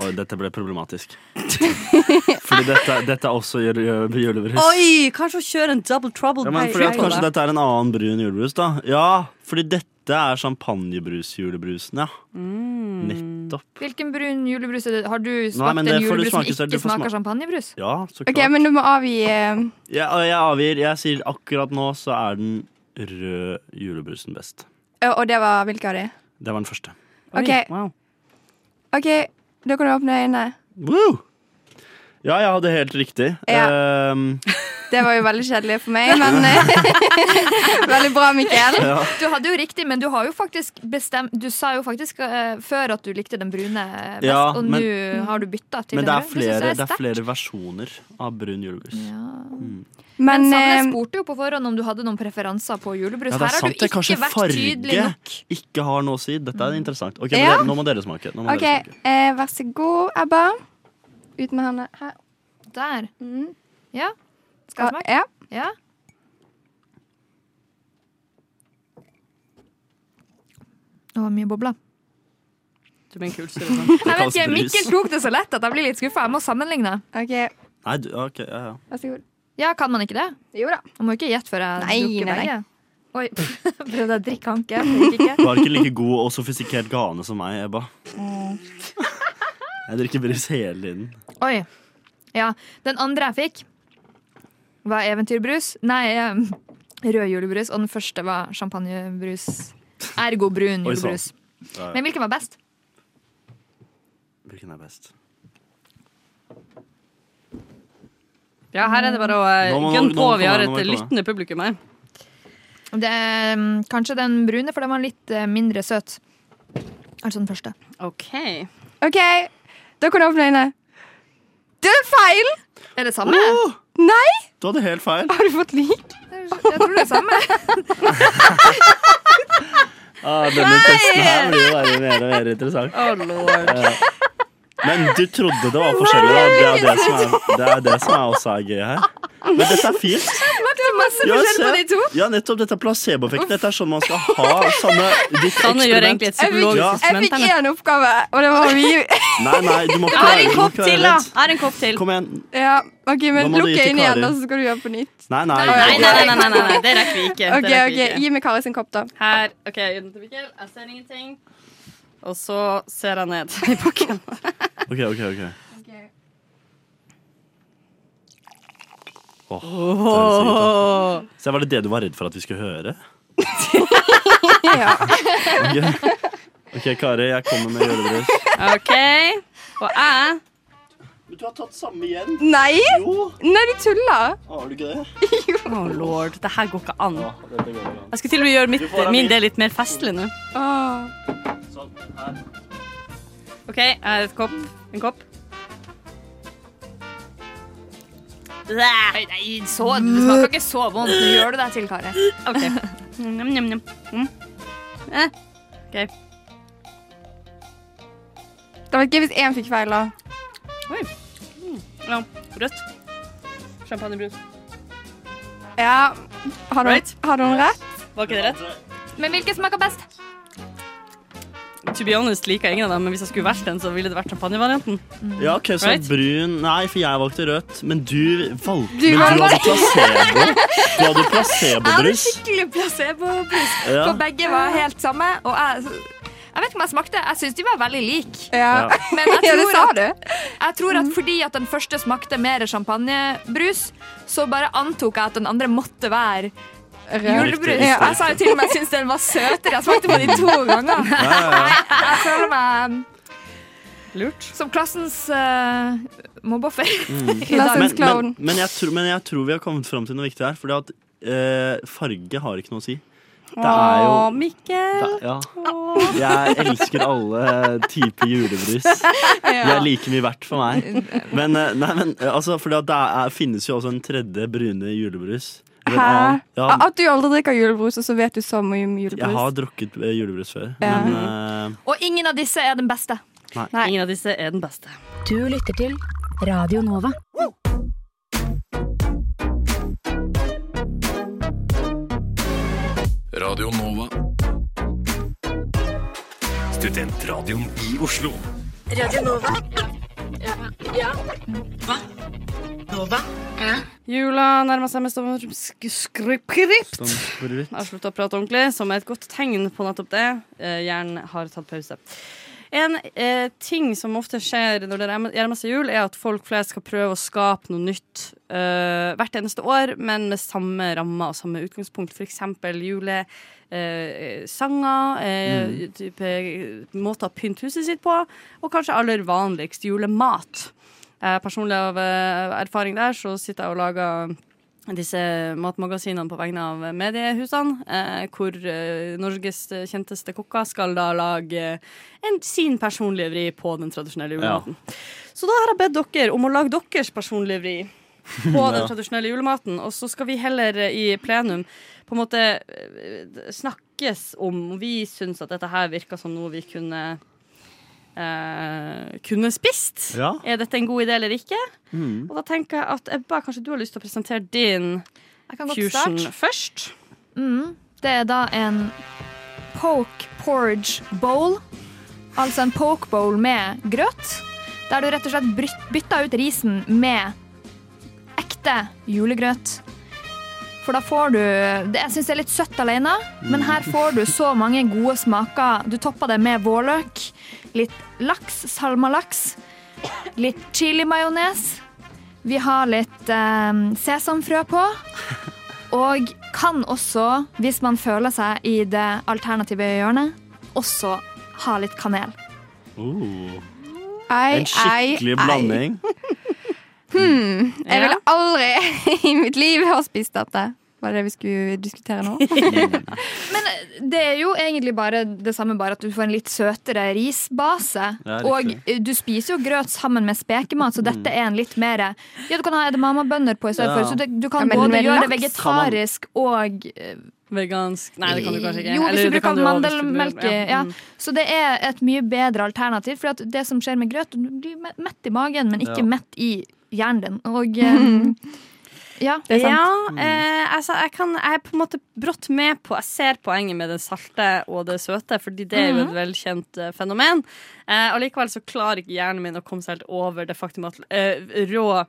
Oi, dette ble problematisk. Fordi dette, dette er også jule- julebrus. Oi, kanskje å kjøre en double trouble Ja, men fordi at Kanskje dette er en annen brun julebrus, da. Ja, fordi dette er champagnebrus-julebrusen, ja. Mm. Nettopp. Hvilken brun julebrus er det? Har du Nei, smakt men en det får du julebrus som smake selv. Du ikke får smaker smake. champagnebrus? Ja, så klart. OK, men du må avgi eh, Jeg, jeg avgir. Jeg sier akkurat nå så er den røde julebrusen best. eh, Og det var hvilke av de? Det var den første. OK, OK, da kan du åpne øynene. Woo! Ja, jeg hadde helt riktig. Ehm, Det var jo veldig kjedelig for meg, men eh, Veldig bra, Mikkel. Ja. Du hadde jo riktig, men du har jo faktisk bestemt Du sa jo faktisk eh, før at du likte den brune best, Ja, og men- nå har du bytta til men det den er, røde. flere, det, synes jeg er sterkt. flere versjoner av brun julebrus. Mm. Men, Men, Sandnes eh, spurte jo på forhånd om du hadde noen preferanser på julebrus. Ja, det er Her har sant. du Det er ikke kanskje vært tydelig farge nok. Mm. ikke har noe å si. Dette er interessant. Ok, men Ja. dere, Nå må dere smake. Nå må OK, dere smake. eh, vær så god, Ebba. Ut med hendene her. Der. Mm. Ja. Skal jeg Og- smake? Ja. Ja. Det var mye bobler. Du blir en kul sånn. Jeg vet kalles ikke, brus. Mikkel tok det så lett at jeg blir litt skuffa. Jeg må sammenligne. Nei, du, ok, ja, ja. Vær så god. Ja, kan man ikke det? Jo da. Man må ikke gjette før jeg Nei, drukker nei, nei. begge. Oi, prøvde jeg å drikke hanke? men gikk Du ikke. har ikke like god og sofistikert gane som meg, Ebba. Mm. Jeg drikker brus hele tiden. Oi. Ja, den andre jeg fikk, var eventyrbrus. Nei, em, rød julebrus. Og den første var champagnebrus. Ergo brun Oi, sann. julebrus. Ja, ja. Men hvilken var best? Hvilken er best? Ja, her er det bare å eh, Nå må- nå gønne må på. komme, Vi har nå et må eh, komme. lyttende publikum her. Det, er, mm, kanskje den brune, for den var litt eh, mindre søt. Altså den første. OK. OK, da kan du åpne øynene. Det er feil! Er det samme? Uh! Nei! Du hadde helt feil. Har du fått lik? Jeg tror det er samme. Ah, denne testen her blir jo bare mer og mer interessant. Eh, Men du trodde det var forskjellig, da. Det er det som, er, det er det som er også er gøy her. Men dette er fint. Smakte masse Ja, forskjell på se. de to. ja nettopp. Dette er placeboeffekt. Dette er sånn man skal ha sånne ditt Sanne gjør egentlig et Jeg fikk, psykologisk Ja. jeg fikk eksperiment. her nå. én oppgave, og det var mye. Nei, nei, du må Jeg ikke har være- en du må kopp ikke være til, da. redd. Jeg har en kopp til. Kom igjen. Ja, OK, men Nå må du lukk gi til øynene igjen, Kari. og så skal du gjøre på nytt. Nei, nei. Nei, nei, nei, nei, nei, nei. det rekker vi ikke. Det OK, rekker ok, vi ikke. gi meg Kari sin kopp, da. Her. OK, gi den til Mikkel. Jeg ser ingenting. Og så ser jeg ned i bakken. OK, OK. ok Åh, det høres sykt ut. Åh. Så Var det det du var redd for at vi skulle høre? Ja. Ok, Ok, Kari, jeg kommer med julebrus. OK. Og jeg Du har tatt samme igjen. Nei! Jo. Nei, du tuller! Har du ikke det? Å, lord. Det her går ikke an. Dette går bra. Jeg skal til og med gjøre mitt, Du får av min min. del litt mer festlig nå. Åh. Sånn, her. OK, jeg har et kopp. En kopp. Nei, nei, så, det smaker ikke så vondt. Nå gjør du deg til, Kari. OK. Njam, njam, njam. Mm. Eh. OK. Det var gøy hvis én fikk feil, da. Oi. Ja, rødt. Champagnebrus. Ja. Har du, Right. har du en rett? Var ikke det rett? Men hvilken smaker best? To be honest liker jeg ingen av dem, men hvis jeg skulle valgt den, så ville det vært champagnevarianten. Ja, ok, så Right? brun Nei, for jeg valgte rødt, men du valgte Du Men du hadde valgte- placebo. Du hadde placebobrus. skikkelig placebobrus. Ja. For begge var helt samme. Og jeg, jeg vet ikke om jeg smakte. Jeg syns de var veldig like. Ja. Ja. Men jeg Ja, det tror, sa at, du. jeg tror at fordi at den første smakte mer champagnebrus, så bare antok jeg at den andre måtte være Riktig, julebrus. riktig. Jeg sa jo til og med at Altså, jeg syntes den var søtere. Jeg smakte på de to ganger. Ja, ja, ja. Jeg føler meg Som klassens eh, mobbeoffer. Mm. i dag. Men, men, men, jeg tror, men jeg tror vi har kommet fram til noe viktig her, fordi at eh, farge har ikke noe å si. Det er jo Å, Mikkel. det, ja. Jeg elsker alle typer julebrus. De er like mye verdt for meg. Men, eh, nei, men eh, altså, fordi at det er, finnes jo også en tredje brune julebrus. Eller en Hæ? annen. Ja, Ah, At du aldri drikker julebrus, og så vet du så mye om julebrus. jeg har drukket eh, julebrus før, Ja. men eh, Og ingen av disse er den beste. Nei. Ingen av disse er den beste. Du lytter til Radio Nova. Radio Nova. Studentradioen i Oslo. Radio Nova. Ja. Hva? Nova? Jula nærmer seg med eh, stormskript. sånn Stormskript. Har slutta å prate ordentlig, som er et godt tegn på nettopp det. Eh, Hjernen har tatt pause. En eh, ting som ofte skjer når det nærmer nærmer seg jul, er at folk flest skal prøve å skape noe nytt eh, hvert eneste år, men med samme rammer og samme utgangspunkt. For eksempel julesanger, eh, Mm. type eh, måter å pynte huset sitt på, og kanskje aller vanligst julemat. Eh, personlig av eh, erfaring der, så sitter jeg og lager disse matmagasinene på vegne av mediehusene, eh, hvor eh, Norges kjenteste kokker skal da lage eh, en, sin personlige vri på den tradisjonelle julematen. Så da har jeg bedt dere om å lage deres personlige vri på den Ja. tradisjonelle julematen, og så skal vi heller eh, i plenum på en måte eh, snakkes om om vi syns at dette her virker som noe vi kunne eh, kunne spist. Ja. Er dette en god idé eller ikke? Mm. Og da tenker jeg at Ebba, kanskje du har lyst til å presentere din Jeg kan godt fusion starte. først? Mm. Det er da en poke porridge bowl. Altså en poke bowl med grøt. Der du rett og slett bryt- bytter ut risen med ekte julegrøt. For da får du det- Jeg syns det er litt søtt alene, men her får du så mange gode smaker. Du topper det med vårløk, litt laks, salmalaks, litt chilimajones. Vi har litt eh, sesamfrø på. Og kan også, hvis man føler seg i det alternative hjørnet, også ha litt kanel. oh. Ei, En skikkelig ei, ei. blanding. Hmm. Jeg Ja. ville aldri i mitt liv ha spist dette. Var det det vi skulle diskutere nå? Men det er jo egentlig bare det samme, bare at du får en litt søtere risbase. Ja, og eh, riktig. du spiser jo grøt sammen med spekemat, så dette er en litt mer Ja, du kan ha edamamabønner på i stedet Mm. Ja. for. Så det, du Ja, kan men både med gjøre det laks kan man- vegetarisk og eh, Vegansk Nei, det kan du kanskje ikke. Jo, hvis Eller du det kan bruker jo- mandelmelk i. Ja. mm. Så det er et mye bedre alternativ. For at det som skjer med grøt, du blir me- mett i magen, men ikke Ja. mett i hjernen din. Og eh, ja, det er sant. Mm. Ja, eh, altså, jeg, kan, jeg er på en måte brått med på Jeg ser poenget med det salte og det søte, Fordi det er jo et Mhm. velkjent eh, fenomen. Eh, allikevel så klarer ikke hjernen min å komme seg helt over det faktum at eh, rå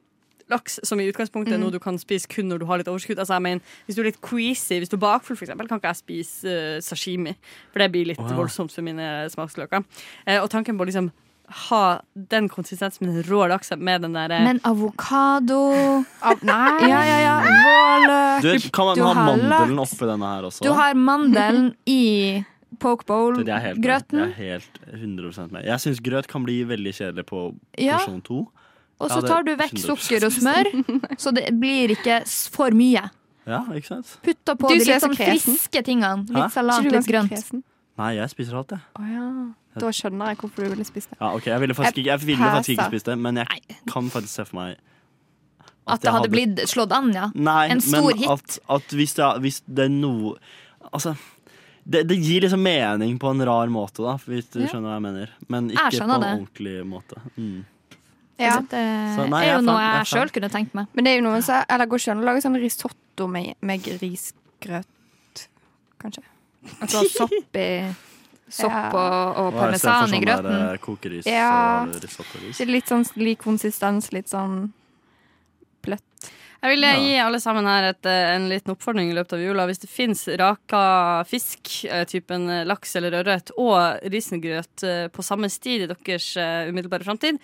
laks, som i utgangspunktet er Mhm. noe du kan spise kun når du har litt overskudd Altså, jeg mener, Hvis du er litt queasy, hvis du er bakfull, for eksempel, kan ikke jeg spise eh, sashimi. For det blir litt Å, ja. voldsomt for mine smaksløker. Eh, og tanken på å liksom ha den konsistensen med den rå laksa med den eh, derre Men avokado Nei. Ja, ja, ja. Vårløk. Du, kan man ha har mandelen laks. oppi denne her også? Du har mandelen i poke Det er helt, bowl-grøten. Jeg er helt 100 med. Jeg syns grøt kan bli veldig kjedelig på Ja. porsjon to. Og Ja, så det- tar du vekk 100%. sukker og smør, så det blir ikke s- for mye. Ja, ikke sant? Putta på Du de ser litt så sånn kresen. friske tingene. Hæ? Litt salat, Ikke du litt ganske grønt. kresen? Nei, jeg spiser alt, jeg. Å ja. Da skjønner jeg hvorfor du ville spist det. Ja, ok, Jeg ville faktisk ikke, jeg ville faktisk ikke spist det, men jeg kan faktisk se for meg At det jeg hadde blitt slått an, ja. Nei, en stor men hit. at, at hvis, det, er- hvis det er noe Altså det, det gir liksom mening på en rar måte, da, hvis du Ja. skjønner hva jeg mener. Men Jeg ikke på skjønner en det. ordentlig måte. Mm. Ja. Det Så nei, er jeg jo er noe fan, jeg er jeg fan. sjøl kunne tenkt meg. Men det er jo noen som Eller går ikke an å lage sånn risotto med, med risgrøt, kanskje. Altså sopp i Sopp og, og Og istedenfor parmesan i sånn der, grøten. eh, kokeris Ja. og risottoris. Det er Litt sånn lik konsistens, litt sånn bløtt. Jeg vil gi alle sammen her et, eh, en liten oppfordring i løpet av jula. Hvis det fins raka fisk, eh, typen eh, laks eller ørret, og risengrøt eh, på samme sti i deres eh, umiddelbare framtid,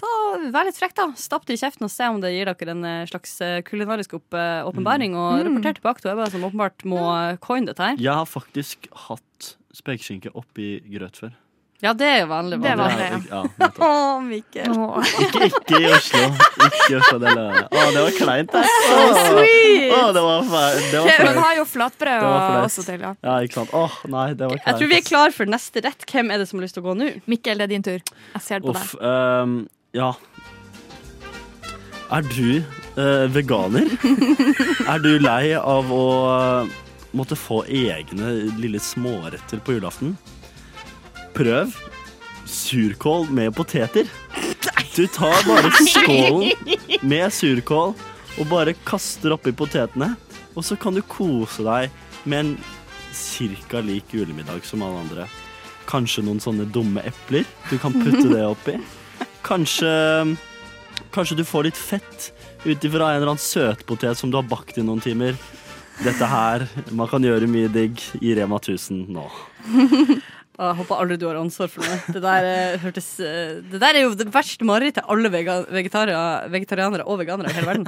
da vær litt frekk, da. Stapp det i kjeften og se om det gir dere en eh, slags eh, kulinarisk opp- eh, åpenbaring. Og Mm. rapporter tilbake til Ebba, som åpenbart må eh, coine dette her. Jeg har faktisk hatt spekeskinke oppi grøt før. Ja, det er jo vanlig. Det er vanlig. vanlig, ja. Å, Mikkel. Ikke, ikke i Oslo. Ikke i Oslo, det lører jeg. Å, det var kleint, det. Å, sweet. Å, det var fæ- det var Ok, flaut. men har jo flatbrød Det var og- flaut. også til, ja. Ja, ikke sant. Åh, nei, det var kleint. Jeg tror vi er ass. klar for neste rett. Hvem er det som har lyst til å gå nå? Mikkel, det er din tur. Jeg ser Uff. ehm, ja. Er du eh, veganer? er du lei av å eh, måtte få egne lille småretter på julaften? Prøv surkål med poteter. Du tar bare skålen med surkål og bare kaster oppi potetene. Og så kan du kose deg med en cirka lik julemiddag som alle andre. Kanskje noen sånne dumme epler du kan putte det oppi. Kanskje Kanskje du får litt fett ut ifra en eller annen søtpotet som du har bakt i noen timer. Dette her Man kan gjøre mye digg i Rema 1000 nå. Å, Jeg håper aldri du har ansvar for det. Det der, eh, hørtes, eh, det der er jo det verste marerittet til alle vega vegetaria- vegetarianere og veganere i hele verden.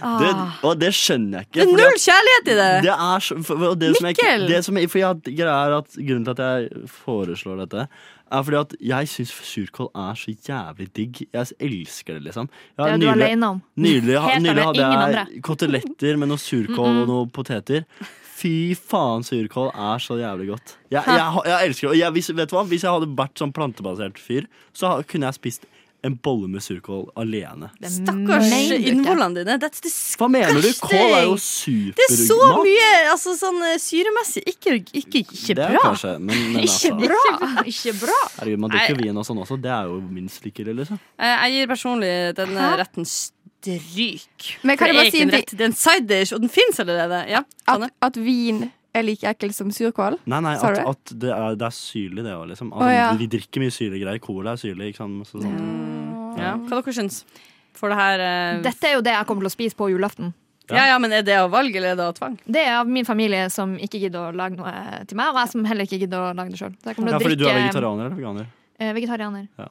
Det, Ah. og det skjønner jeg ikke. Det er fordi null at- kjærlighet i det. det er så, for, og det som jeg, ikke- Mikkel! det som, jeg- for jeg, greia er at Grunnen til at jeg foreslår dette, er fordi at jeg syns surkål er så jævlig digg. Jeg elsker det, liksom. Jeg har Det er du alene om. Nylig, ha- Helt nylig alene, hadde jeg ingen andre. koteletter med noe surkål Mm-mm. og noe poteter. Fy faen, surkål er så jævlig godt. Jeg, jeg, ha- jeg elsker det. Og jeg, hvis, vet du hva? hvis jeg hadde vært sånn plantebasert fyr, så ha- kunne jeg spist en bolle med surkål alene. Stakkars Mener du ikke? innvollene dine. That's disgusting. Hva mener du? Kål er jo supermat. Det er så mye altså, sånn eh, syremessig. Ikke, ikke, ikke Det er bra. kanskje, men, men altså, bra. Ikke bra. Herregud, man drikker vin og sånn også. Det er jo minst like ille, liksom. Eh, Jeg gir personlig den eh, retten stryk. Men For kan jeg bare det er si ikke en en Ah. ting? rett, Det er en side dish, og den fins allerede. Ja, At, at vin er like ekkelt som surkål? Nei, nei, Sa at, du det? at det, er, det er syrlig, det òg, liksom. Altså, Å, ja. Vi drikker mye syrlige greier. Cola er syrlig, ikke sant. Så, sånn. ja. Hva dere syns for det her eh, Dette er jo det jeg kommer til å spise på julaften. Ja, ja, men er det av valg, eller er det av tvang? Det er av min familie som ikke gidder å lage noe til meg, og jeg som heller ikke gidder å lage det sjøl. Så jeg kommer Ja, til å fordi du drikke er vegetarianer eller veganer? eh, vegetarianer. Ja.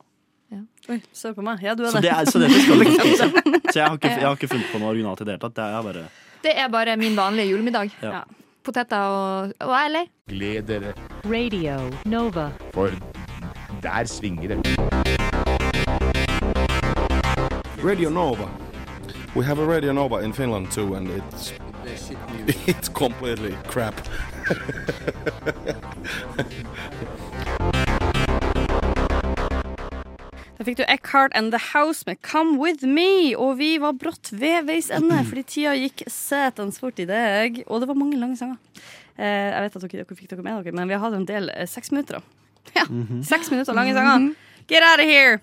Oi, se på meg. Ja, du er Så det er, så dette skal du ikke spise. Så jeg har ikke, jeg har ikke funnet på noe originalt i det hele tatt. Det er bare Det er bare min vanlige julemiddag. Ja. Ja. Poteter og, og jeg er lei. Gled dere, Radio Nova. for der svinger det. Radio Nova. We have a Radio Nova in Finland too, and it's it's completely crap. Da fikk du Eckhart and The House med Come With Me. Og vi var brått ved veis ende, fordi tida gikk sætans fort i dag. Og det var mange lange sanger. Eh, jeg vet at dere, dere fikk dere med dere, men vi har hatt en del eh, seks minutter. da. Ja, Seks minutter lange sanger. Get out of here!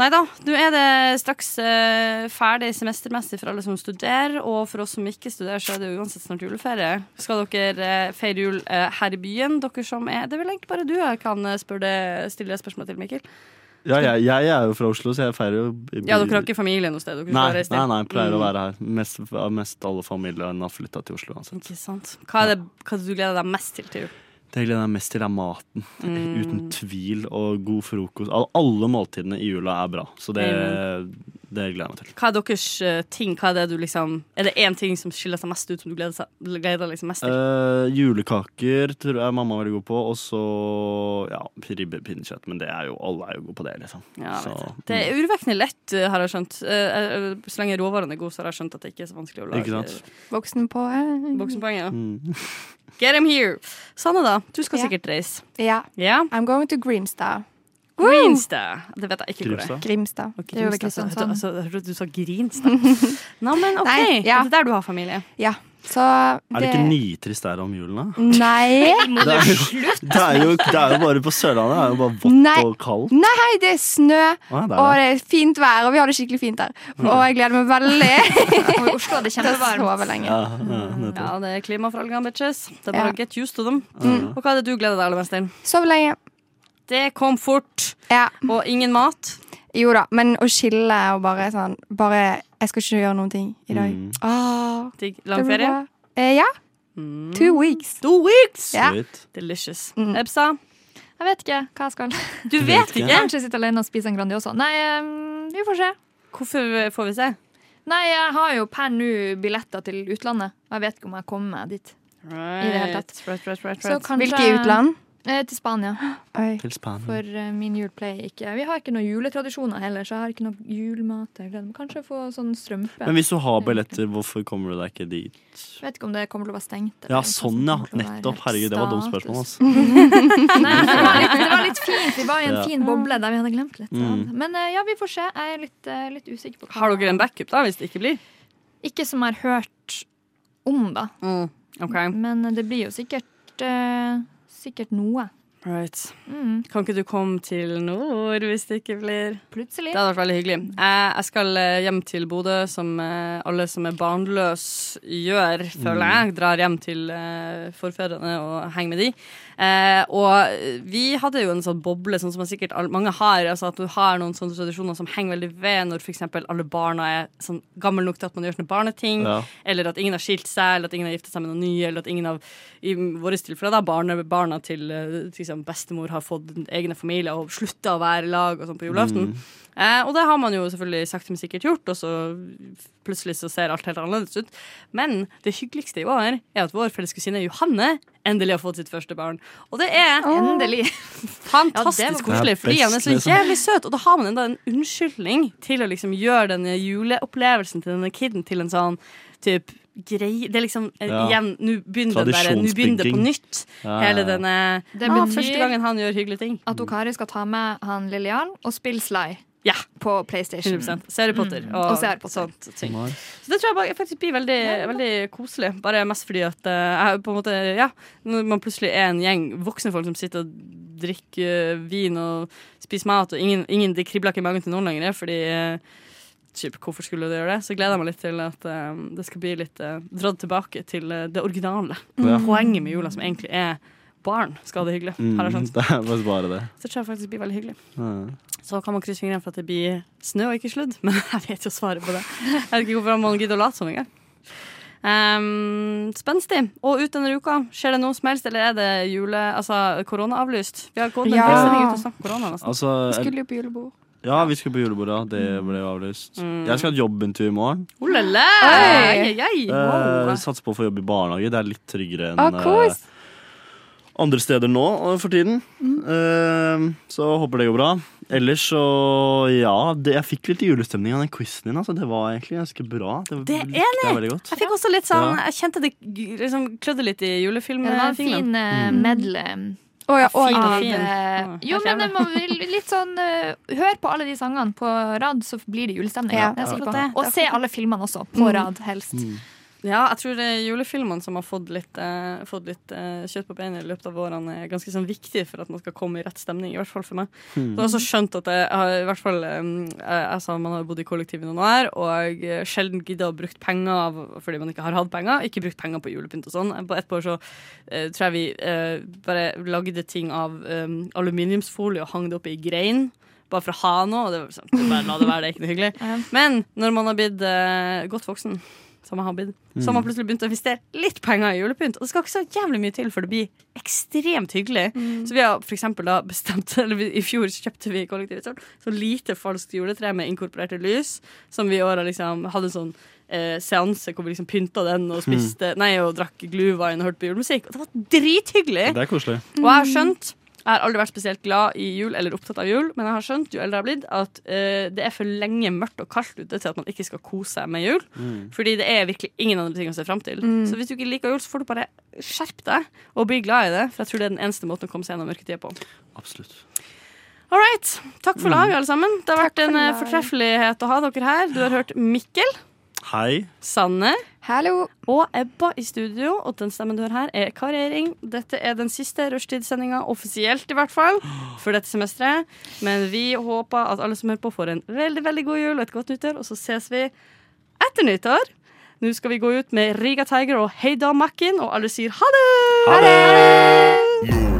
Nei da, nå er det straks eh, ferdig semestermessig for alle som studerer. Og for oss som ikke studerer, så er det jo uansett snart juleferie. Skal dere eh, feire jul eh, her i byen, dere som er Det er vel egentlig bare du jeg kan eh, spørre det, stille det spørsmålet til, Mikkel. Ja, jeg, jeg er jo fra Oslo, så jeg feirer jo i- Ja, dere har ikke familie noe sted? Dere Nei, skal reise til. nei, nei, jeg pleier å Mm. være her. Mest, mest alle familiene har flytta til Oslo uansett. Ikke sant. Hva er det hva er det du gleder deg mest til til jul? Det jeg gleder meg mest til, er maten. Mm. Uten tvil. Og god frokost. Al- Alle måltidene i jula er bra, så det, det gleder jeg meg til. Hva er deres eh, ting? Hva er det du liksom Er det én ting som skiller seg mest ut, som du gleder, seg, gleder deg liksom mest til? Eh, julekaker tror jeg mamma er veldig god på, og så ja, ribbe pinnekjøtt. Men det er jo, alle er jo gode på det, liksom. Ja, jeg så, vet det. det er urovekkende lett, eh, har jeg skjønt. Eh, eh, så lenge råvarene er gode, så har jeg skjønt at det ikke er så vanskelig å lage. Ikke sant? Voksenpoeng. Voksenpoeng, ja. Mm. Get him here! Sanne, da. Du skal Ja. sikkert reise. Ja. Yeah. I'm going to Grimstad. Grimstad. Det vet jeg ikke hvor det er. Grimstad. Og Grimstad, så- altså, jeg hørte du sa Grinstad. Nå, men OK. Nei, ja. Er det der du har familie? Ja. Så Er det ikke nitrist der om julen, da? Nei. Det er, jo, det, er jo, det er jo bare på Sørlandet. Det er jo bare Nei. vått og kaldt. Nei, det er snø, Å, det Mm. er og det. det er fint vær, og vi har det skikkelig fint der. Og jeg gleder meg veldig. Og i Oslo er det til å sove kjempevarmt. lenge. Ja, ja, nettopp. Ja, det er klimaforholdene, bitches. Det er bare Ja. å get used to them. Mm. Og hva er det du gleder deg aller mest til? Sove lenge. Det kom fort. Og ingen mat. Jo da, men å skille og bare sånn Bare Jeg skal ikke gjøre noen ting i dag. Ah. Mm. Åh, Digg. det Lang blir ferie? bra. Eh, ja. Two weeks. Two weeks! Ja. Delicious. Mm. Ebsa? Jeg vet ikke hva jeg skal. Du vet ikke? Kanskje sitte alene og spise en Grandiosa. Nei, eh, vi får se. Hvorfor får vi se? Nei, jeg har jo per nå billetter til utlandet. Jeg vet ikke om jeg kommer meg dit. I det hele tatt. Right, right, right, right, Så right. kanskje- Eh, til Spania. Til Spania. For eh, min jul pleier ikke Vi har ikke noen juletradisjoner heller, så jeg har ikke noe julemat. Jeg gleder meg kanskje å få sånn strømpe. Men hvis du har billetter, hvorfor kommer du deg ikke dit? Jeg vet ikke om det kommer til å være stengt. Ja, sånn ja. Nettopp. Herregud, det var dumt spørsmål, altså. Nei, det var, litt, det var litt fint. Vi var i en Ja. fin boble der vi hadde glemt litt. Mm. Men eh, ja, vi får se. Jeg er litt, eh, litt usikker på hva- Har dere en backup, da, hvis det ikke blir? Ikke som jeg har hørt om, da. Men eh, det blir jo sikkert, eh, sikkert noe. Right. Mm. Kan ikke du komme til nord hvis det ikke blir Plutselig. Det hadde vært veldig hyggelig. Jeg, jeg skal eh, hjem til Bodø, som eh, alle som er barnløse gjør, føler Mm. jeg. Drar hjem til eh, forfedrene og henger med de. Eh, og vi hadde jo en sånn boble, sånn som sikkert all- mange har. Altså at du har noen sånne tradisjoner som henger veldig ved når f.eks. alle barna er sånn gamle nok til at man gjør sånne barneting. Ja. Eller at ingen har skilt seg, eller at ingen har giftet seg med noen nye. Eller at ingen av, i våre tilfeller, da, barne, barna til eh, liksom, bestemor har fått egne familier og slutta å være i lag og sånn på julaften. Mm. Eh, og det har man jo selvfølgelig sakte, men sikkert gjort, og så plutselig så ser alt helt annerledes ut. Men det hyggeligste i år er at vår felles kusine Johanne endelig har fått sitt første barn. Og det er Endelig. Ja, det fantastisk var- koselig, fordi Det er han er best, så liksom. jævlig søt. Og da har man enda en unnskyldning til å liksom gjøre denne juleopplevelsen til denne kiden til en sånn typ greie Det er liksom eh, Ja. igjen, nå begynner det bare, nå begynner det på Tradisjonsbygging. nytt. Ja, ja, Hele ja. denne Det ah, betyr- Første gangen han gjør hyggelige ting. At Okari skal ta med han Lillian og spille Sly Ja. på PlayStation. 100%. Harry Potter Mm. og Og så Harry Potter. sånt Mm, ting. Så det tror jeg bare- faktisk blir veldig, veldig koselig. Bare mest fordi at eh, jeg på en måte, ja, når man plutselig er en gjeng voksne folk som sitter og drikker eh, vin og spiser mat, og ingen, ingen det kribler ikke i magen til noen lenger, fordi eh, typ, hvorfor skulle du gjøre det? Så gleder jeg meg litt til at eh, det skal bli litt eh, dratt tilbake til eh, det originale. Ja. Poenget med jula, som egentlig er barn skal ha det sånn- hyggelig. Mm, Har jeg skjønt. det er faktisk bare det. Så det tror jeg faktisk blir veldig hyggelig. Ja. Så kan man krysse fingrene for at det blir snø og ikke sludd, men jeg vet jo svaret på det. Jeg vet ikke hvorfor man gidder å late som engang. Um, spenstig. Og ut denne uka, skjer det noe som helst, eller er det jule... Altså koronaavlyst? Vi har gått en Ja. hel sending uten å snakke om korona, nesten. Altså, jeg, jo på julebord. ja, vi skulle på julebord, ja. Det ble jo avlyst. Mm. Jeg skal ha jobbintervju i morgen. Oh, la, la. Oi. Ai, ai, ai. Eh, Wow. satser på å få jobb i barnehage. Det er litt tryggere enn Ah, kos. eh, andre steder nå eh, for tiden. Mm. Eh, så håper det går bra. Ellers så ja, det, jeg fikk litt julestemning av den quizen din. Altså. Det var egentlig ganske bra. Det, Det er likte jeg det! veldig godt. Jeg fikk også litt sånn Ja. Jeg kjente det g- liksom klødde litt i Det var en fin julefilmfingrene. eh, Mm. medley. Å ja, av, og fin. eh, Å, Jo, helt men det jævlig. må vi litt sånn eh, Hør på alle de sangene på rad, så blir det julestemning. Ja, det er jeg sikker akkurat det. på. Og se alle filmene også, på Mm. rad, helst. Ja, jeg tror det er julefilmene som har fått litt, eh, fått litt eh, kjøtt på beinet i løpet av årene, er ganske sånn viktig for at man skal komme i rett stemning, i hvert fall for meg. Hmm. Så jeg har også skjønt at jeg har i hvert fall eh, jeg, altså, Man har jo bodd i kollektiv i noen år, og eh, sjelden gidda å bruke penger av, fordi man ikke har hatt penger. Ikke brukt penger på julepynt og sånn. På ett år så eh, tror jeg vi eh, bare lagde ting av eh, aluminiumsfolie og hang det opp i grein. Bare for å ha noe. Og det var sånn, det bare la det være, det er ikke noe hyggelig. Men når man har blitt eh, godt voksen, som jeg har blitt, så har man Mm. plutselig begynt å investere litt penger i julepynt. Og det skal ikke så jævlig mye til for det blir ekstremt hyggelig. Så vi har for eksempel da bestemt Eller vi, i fjor så kjøpte vi i kollektivet sånn, så lite falskt juletre med inkorporerte lys, som vi i år har liksom hadde en sånn eh, seanse hvor vi liksom pynta den og spiste Nei, og drakk glühwein og hørte på julemusikk. Og det var drithyggelig! Det er koselig. Og jeg har skjønt jeg har aldri vært spesielt glad i jul eller opptatt av jul, men jeg har skjønt jo eldre jeg har blitt, at eh, det er for lenge mørkt og kaldt ute til at man ikke skal kose seg med jul. Mm. Fordi det er virkelig ingen andre ting å se fram til. Mm. Så hvis du ikke liker jul, så får du bare skjerpe deg og bli glad i det. For jeg tror det er den eneste måten å komme seg gjennom mørketida på. Absolutt. All right. Takk for Mm. laget, alle sammen. Det har vært for en eh, laget. fortreffelighet å ha dere her. Du har hørt Mikkel, Hei. Sanne og Ebba i studio. Og den stemmen du hører her, er Kari Eiring. Dette er den siste rushtidssendinga, offisielt i hvert fall, for dette semesteret. Men vi håper at alle som hører på, får en veldig, veldig god jul og et godt nyttår, og så ses vi etter nyttår. Nå skal vi gå ut med Riga Tiger og Heida Makken, og alle sier ha det! Ha det!